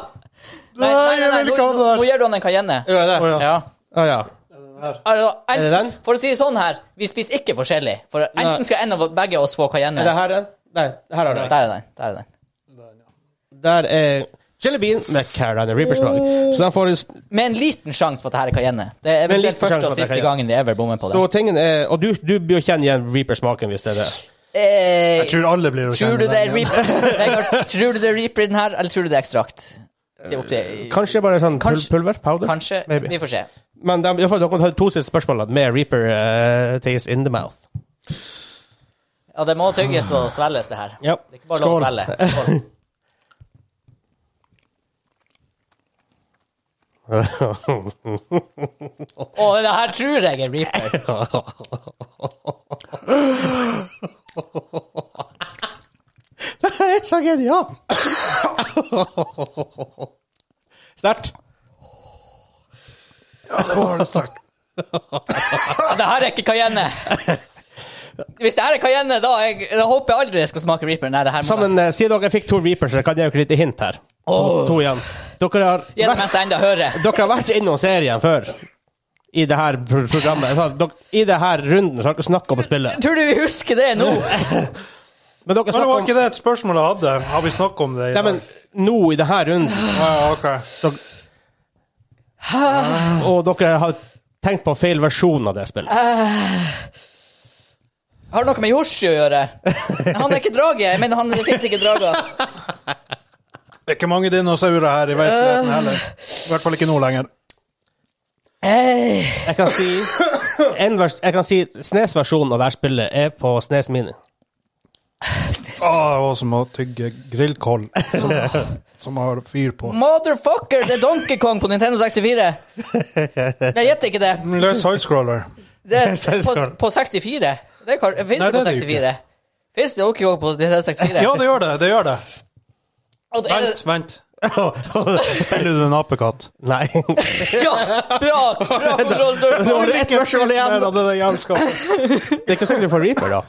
B: Nei, jeg vil ikke ha det der.
A: Nå, nå gir du han en Cayenne.
C: Gjør jeg det?
B: Å, ja.
A: Ja.
C: Ah, ja.
A: Altså, en,
C: Er det den?
A: For å si det sånn her, vi spiser ikke forskjellig. For
C: Nei.
A: enten skal en av begge oss få cayenne.
C: Er det her den? Nei, her har
A: Der
C: du
A: er
C: den.
A: den. der er den.
C: Der er Jelly Bean med Carolina Reapers smak. Så den får
A: Med en liten sjanse for at dette er cayenne. Det er
C: Med en
A: eventuelt
C: liten sjanse
A: første
C: for at
A: og
C: det er
A: siste
C: cayenne.
A: gangen vi ever bommer på
C: Så
A: det.
C: tingen er Og du, du blir jo kjenne igjen Reaper-smaken hvis det er det.
A: Eh,
B: Jeg tror alle blir å
A: tror,
B: kjenne
A: du det er
B: den igjen.
A: reaper, Vegard, tror du det er reaper i den her, eller tror du det er ekstrakt? Det er opp til-
C: Kanskje bare sånn pul
A: Kanskje-
C: pulver? Powder?
A: Kanskje.
C: Maybe.
A: Vi får se.
C: Men de, i hvert fall, dere har to siste spørsmål da, med Reaper eh, taste in the mouth.
A: Ja, det må tygges og svelges, det her.
C: Ja.
A: Det er ikke bare lov å
C: Skål.
A: svelge. Skål. Å, det her tror jeg er reaper.
C: det er så genialt! Sterkt.
A: Det her er ikke cayenne. Hvis det her er cayenne, da, jeg, da håper jeg aldri jeg skal smake reaper. Nei, det her må
C: Sammen, eh, Siden dere fikk to Reapers, så kan jeg jo ikke lite hint her.
A: Åh.
C: To igjen. Dere har
A: Gi det
C: vært-
A: mens jeg enda hører.
C: Dere har vært innom serien før. I det her pro- programmet. Så dere- I det her runden så har dere snakket om å spille.
A: Tror du vi husker det nå?
C: Men dere
B: Men det
C: snakker
B: var
C: om
B: ikke det et spørsmål jeg hadde. Har vi snakket om det
C: Nei,
B: i dag?
C: men nå i det her runden,
B: Ja, ja, Ah, ok.
C: og dere har tenkt på feil versjon av det spillet.
A: Har det noe med Yoshi å gjøre? Han er ikke drage. Jeg mener, han, det fins ikke drager.
B: Det er ikke mange dinosaurer her i virkeligheten heller. I hvert fall ikke nå lenger.
A: Eh,
C: Jeg kan si, en vers, jeg kan si Snes-versjonen av det her spillet er på Snes Mini.
B: Å, det var Ah, som å tygge grillkål som, som har fyr på.
A: Motherfucker, det er Donkey Kong på Nintendo 64. Jeg gjetter ikke det.
B: Det er sidescroller.
A: det er på, på 64? Det kan- Fins
B: Nei,
A: det på
B: det er det jo
A: 64? Fins det Donkey Kong på Nintendo 64?
B: Ja, det gjør det. det gjør det.
A: Og det er-
B: Vent, vent. Spiller du en apekatt?
C: Nei.
A: Ja, bra! Bra kontroll,
C: Nå har
A: Sturle.
C: du ett spørsmål igjen. da. Det er ikke sikkert du får Reaper, da.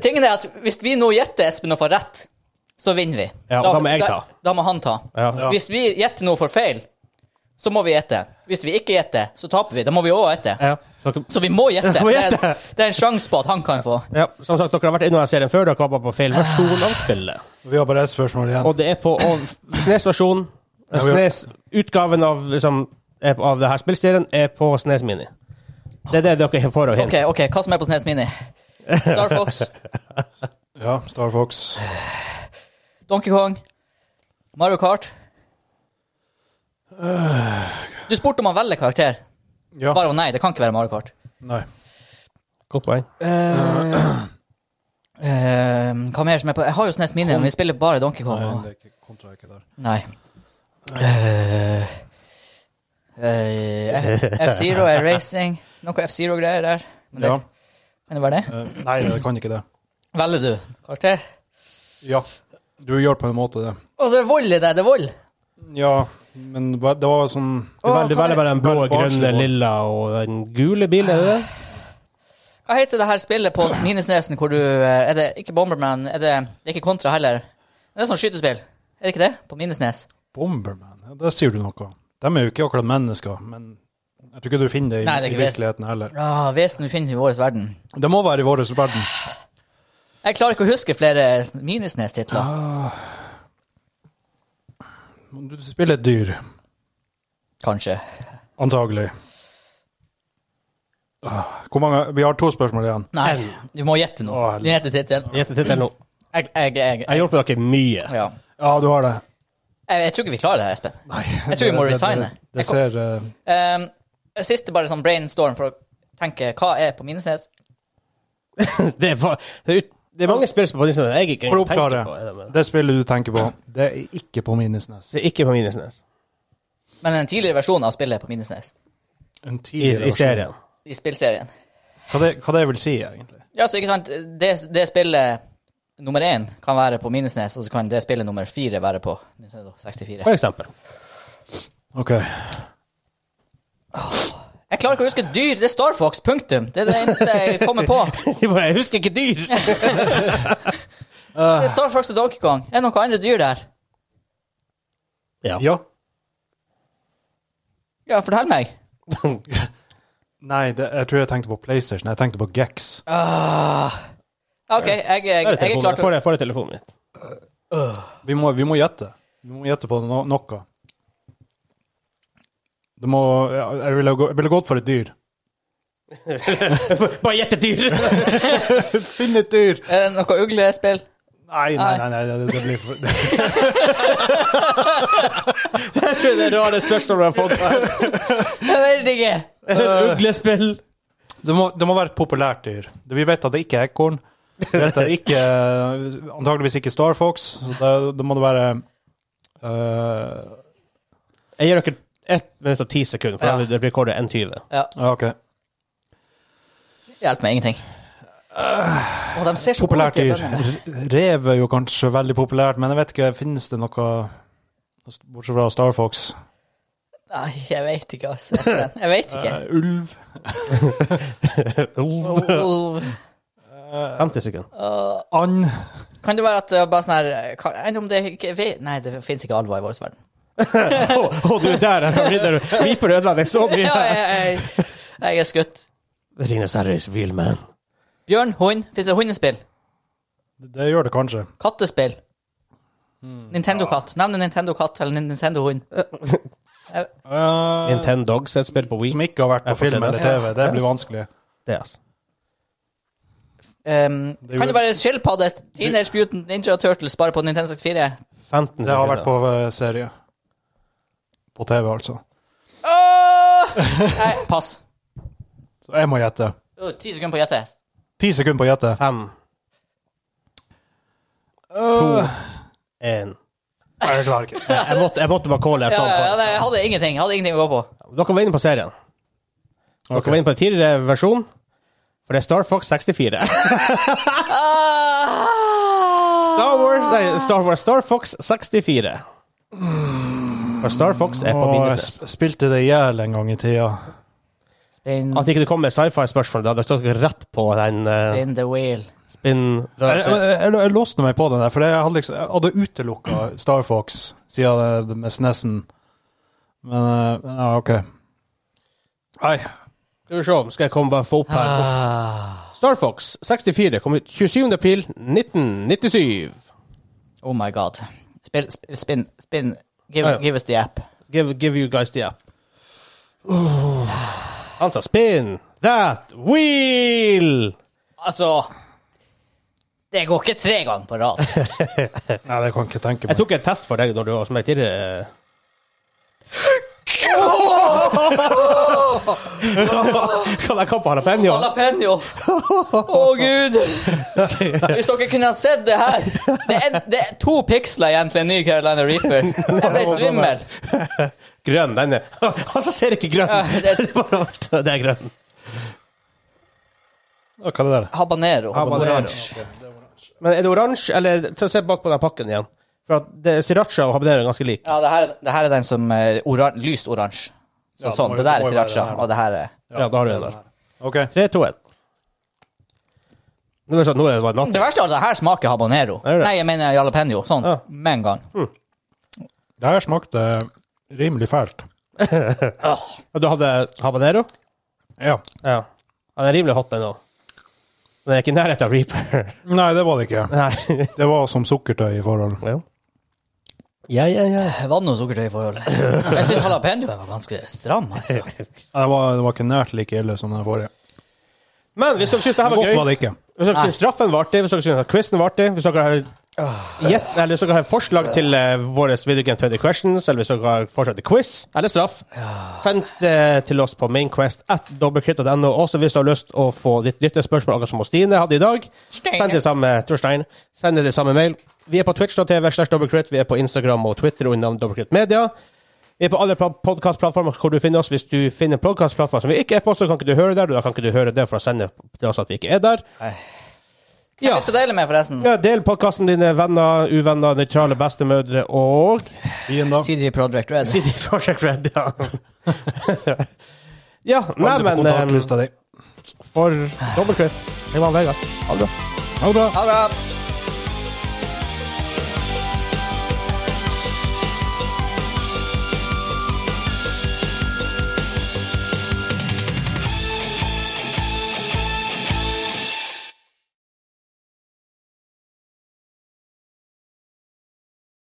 A: Tingen er at hvis vi nå gjetter Espen og får rett, så vinner vi.
C: Ja, og da må jeg ta.
A: Da, da må han ta.
C: Ja. Ja.
A: Hvis vi gjetter noe for feil, så må vi gjette. Hvis vi ikke gjetter, så taper vi. Da må vi òg gjette.
C: Ja. Så dere-
A: Så vi må gjette.
C: Vi må
A: Det er-
C: gjette.
A: Det er en sjanse på at han kan få.
C: Ja, som sagt, dere har vært innom den serien før, dere var bare på feil versjon av spillet.
B: Vi har bare ett spørsmål igjen.
C: Og det er på og Snes-versjonen
B: Ja, vi-
C: Snes-utgaven av, liksom, er på- av det her spillserien er på Snes Mini. Det er det dere får av hint.
A: OK, ok, hva som er på Snes Mini? Star Fox,
B: Ja, Star Fox.
A: Donkey Kong, Mario Kart. Du spurte om han velger karakter.
B: Ja.
A: Svaret var nei, det kan ikke være Mario Kart.
B: Nei.
C: Godt poeng.
A: Eh, hva mer som er på Jeg har jo Snes Mini, men vi spiller bare Donkey Kong.
B: Nei,
A: og-
B: det er ikke kontra er ikke der.
A: Nei. Eh, eh, F-Zero er racing. Noe F-Zero-greier der. Men det,
B: Ja.
A: Kan det være det?
B: eh, Nei, det kan ikke det.
A: Velger du karakter?
B: Ja. Du gjør på en måte det.
A: Og så er vold i det. Det er vold.
B: Ja, men hva- det var sånn
C: Du velger,
A: hva,
C: velger bare den blå,
B: Veldig barnslig
C: grønne,
B: mål.
C: lilla og den gule bilen, er det det?
A: hva heter det her spillet på Minesnesen hvor du eh, Er det ikke Bomberman? Er det, det er ikke Kontra heller? Det er sånn skytespill. Er det ikke det? På Minnesnes.
B: Bomberman. Ja, Der sier du noe. De er jo ikke akkurat mennesker, men jeg tror ikke du finner det i,
A: Nei, det er
B: i
A: ikke vesen.
B: virkeligheten heller.
A: Ah, vesen vi finner i vår verden.
B: Det må være i vår verden.
A: Jeg klarer ikke å huske flere sn-
B: Ah.
A: Minesnes-titler.
B: Du spiller et dyr,
A: Kanskje.
B: antagelig. Ah, Hvor mange Vi har to spørsmål igjen.
A: Nei, du må gjette nå.
B: Å, hel-
A: Du gjetter tittelen.
C: Gjett tittelen nå.
A: Jeg, jeg, jeg,
C: Jeg har hjulpet dere mye.
A: Ja.
B: Ja, du har det.
A: Jeg, jeg tror ikke vi klarer det her, Espen. jeg tror vi må
B: Det- det-
A: resigne.
B: Det, det ser eh,
A: Um, siste bare sånn brainstorm for å tenke hva er på Minnesnes?
C: Det er, fa- det er, ut- det er mange spill som på Minnesnes jeg ikke
B: For å
C: engang tenker på. er det, men-
B: eh, oppklare. Det spillet du tenker på, det er ikke på Minnesnes.
C: Det er ikke på Minnesnes.
A: Men en tidligere versjon av spillet er på Minnesnes.
B: En altså.
C: I,
B: tidligere
C: I
B: versjon.
C: serien.
A: I spillserien.
B: Hva det, hva det vil si, egentlig?
A: Ja, så ikke sant, det, det spillet nummer én kan være på Minnesnes, og så kan det spillet nummer fire være på Nintendo 64.
C: For eksempel.
B: OK.
A: Jeg klarer ikke å huske dyr. Det er Star Fox, punktum. Det er det eneste jeg kommer på.
C: De bare, Jeg husker ikke dyr!
A: Det er Star Fox og Donkey Kong. Er det noen andre dyr der?
C: Ja.
B: Ja.
A: Ja, fortell meg.
B: Nei, det, jeg tror jeg tenkte på PlayStation. Jeg tenkte på Gex.
A: Ah. OK, jeg, jeg, jeg,
C: Der er
A: er klar
C: telefonen.
A: til
C: Får jeg, får jeg telefonen min?
B: Vi må, vi må gjette. Vi må gjette på no noe. Det må Jeg jeg ville, gå, jeg ville gått for et dyr.
C: Bare gjett et dyr!
B: Finn et dyr!
A: Eh, Noe uglespill?
B: Nei, nei, nei. nei det, det blir for
C: Det er det rare spørsmålet jeg har fått.
A: Jeg vet ikke.
C: Uglespill.
B: det, må, det må være et populært dyr. Det- Vi vet at det ikke er ekorn. Vi vet at det ikke Antakeligvis ikke Star Fox. Så det, det må det være øh,
C: Jeg gir dere ett minutt og ti sekunder, for
A: Ja.
C: da blir rekordet 1,20.
B: Ja, OK.
A: Hjelp meg ingenting. Å, de ser så
B: Populært
A: gode ut, de
B: dyr.
A: bøndene.
B: R- Rev er jo kanskje veldig populært, men jeg vet ikke, finnes det noe Bortsett fra Star Fox.
A: Nei, jeg vet ikke, altså. Espen. Jeg vet ikke.
B: Eh, ulv.
A: Oh,
B: Uh,
C: 50 sekunder.
A: oh.
B: And.
A: Kan det være at det er bare sånn her eh, hva- Enn om det ikke vet- Nei, det fins ikke alvor i vår verden.
C: Å, å, du er der! Viper ødela deg så
A: Ja,
C: mye.
A: jeg, jeg, jeg er skutt.
C: Ringnes Harris, real man.
A: Bjørn, hund. Fins det hundespill?
B: Det gjør det kanskje.
A: Kattespill?
B: Hmm.
A: Nintendo-katt. Nevn en Nintendo-katt eller en Nintendo-hund.
B: Eh,
C: Nintendogs er et spill på Wii.
B: som ikke har vært på
C: Jeg
B: film
C: forstår
B: eller
C: det.
B: TV. Det
C: Ja.
B: blir vanskelig.
C: Det, altså.
A: Um,
B: Det er
A: kan
B: jo-
A: det være skilpadde? Teenage Mutant Ninja Turtles bare på Nintendo 64?
C: 15 sekunder.
B: Det har vært på eh, serie. På TV, altså.
A: Åh! Nei, pass.
B: Så jeg må gjette.
A: Åh, Ti sekunder på å gjette.
B: Ti sekunder på å gjette.
C: Fem,
B: To.
C: en.
B: Nei, jeg klarer ikke.
C: Jeg måtte, jeg måtte bare calle. Jeg
A: Ja,
C: så
A: ja,
C: på.
A: nei, jeg hadde ingenting jeg hadde ingenting å gå på.
C: Dere var inne på serien. Dere
B: Ok.
C: var inne på en tidligere versjon. For det er Star Fox 64. Star Wars, nei, Star Wars, Star Fox 64. For Star Fox er på
B: Og jeg
C: minusnes.
B: sp- spilte det i hjel en gang i tida.
A: Spin,
C: At ikke det kom med sci-fi-spørsmål, da hadde jeg stått rett på den eh,
A: spin the wheel.
C: spinn...
B: Jeg, jeg, jeg, jeg låste meg på den der, for jeg hadde, liksom, jeg hadde utelukka Star Fox siden det- det med SNES-en. Men eh, ja, OK. Nei.
C: Skal vi se, skal jeg komme bare få opp her.
A: Ah.
C: Star Fox 64 kom ut 27. april 1997.
A: Oh my god. Spill, sp- spin, spin.
C: Ja, ja.
A: Give, give us the app.
C: Give, give you guys the app. Han sa spin that wheel!
A: Altså Det går ikke tre ganger på rad.
B: Nei, det kan jeg ikke tenke
C: Jeg
B: meg.
C: tok en test for deg når du var som jeg tidligere. Kan jeg kappe jalapeño?
A: Jalapeño. Å, gud. Hvis dere kunne ha sett det her. Det er, det er to piksler igjen til en ny Carolina Reaper. Jeg ble svimmel.
C: Grønn, den er Han som ser ikke grønn!
A: Ja,
C: det,
A: det-
C: er bare at det er grønn.
B: Hva er det der?
A: Habanero.
C: Habanero.
A: Oransje.
C: Men er det oransje, eller ta og se bak på den pakken igjen? For at det, Sriracha og habanero er ganske lik.
A: Ja, det her, det her er den som eh, oran, lyst oransje. Så
B: Ja, det
A: sånn.
B: må
A: Det
B: jo-
A: der er
B: må jo være
A: sriracha,
B: den her, da.
A: og det her er
C: Ja, da har du den der.
B: OK.
C: 3, 2, 1. Nå er det, sånn, nå er det bare
A: Det
C: natt.
A: verste er at det her smaker habanero.
C: Er det?
A: Nei, jeg mener jalapeño. Sånn
C: Ja. Mm.
A: med en gang.
B: Det her smakte rimelig fælt.
C: Og du hadde habanero?
B: Ja.
C: Ja. ja den er rimelig hot, den òg. Men den er ikke i nærheten av reaper.
B: Nei, det var det ikke.
C: Nei.
B: Det var som sukkertøy i forhold.
C: Jo. Ja, ja, ja.
A: Var det noe Eh, sukkertøy i forholdet? Jeg syns jalapeñoen var ganske stram, altså.
B: Det var, det var ikke nært like ille som den forrige.
C: Men hvis dere syns det her var
B: Godt
C: gøy
B: var det ikke.
C: Hvis dere
A: Nei.
C: syns straffen var artig, hvis dere syns quizen var artig, hvis dere har gjett- eller hvis dere har forslag til uh, våre Video Game 20 Questions, eller hvis dere har forslag til quiz eller straff, send det til oss på mainquest at dobbeltkritt.no. Også hvis du har lyst å få ditt lyttespørsmål, akkurat som Stine hadde i dag. Send det samme Torstein. Send det i samme mail. Vi er på Twitch.tv slash dobbeltkritt. Vi er på Instagram og Twitter under navnet Dobbeltkritt Media. Vi er på alle podkastplattformer hvor du finner oss. Hvis du finner en podkastplattform som vi ikke er på, så kan ikke du høre der. og Da kan ikke du høre det for å sende til oss at vi ikke er der.
A: Hva
C: Ja.
A: vi skal dele med, forresten?
C: Ja, del podkasten dine venner, uvenner, nøytrale bestemødre og
B: Fiender.
A: CG Project Red.
C: CD Project Red, ja. ja, nei,
B: Aldri på
C: men eh, em,
B: eh, kontaktlista di.
C: for Dobbeltkvitt. Jeg var Vegard. Ha det bra.
B: Ha det bra.
A: Ha det bra.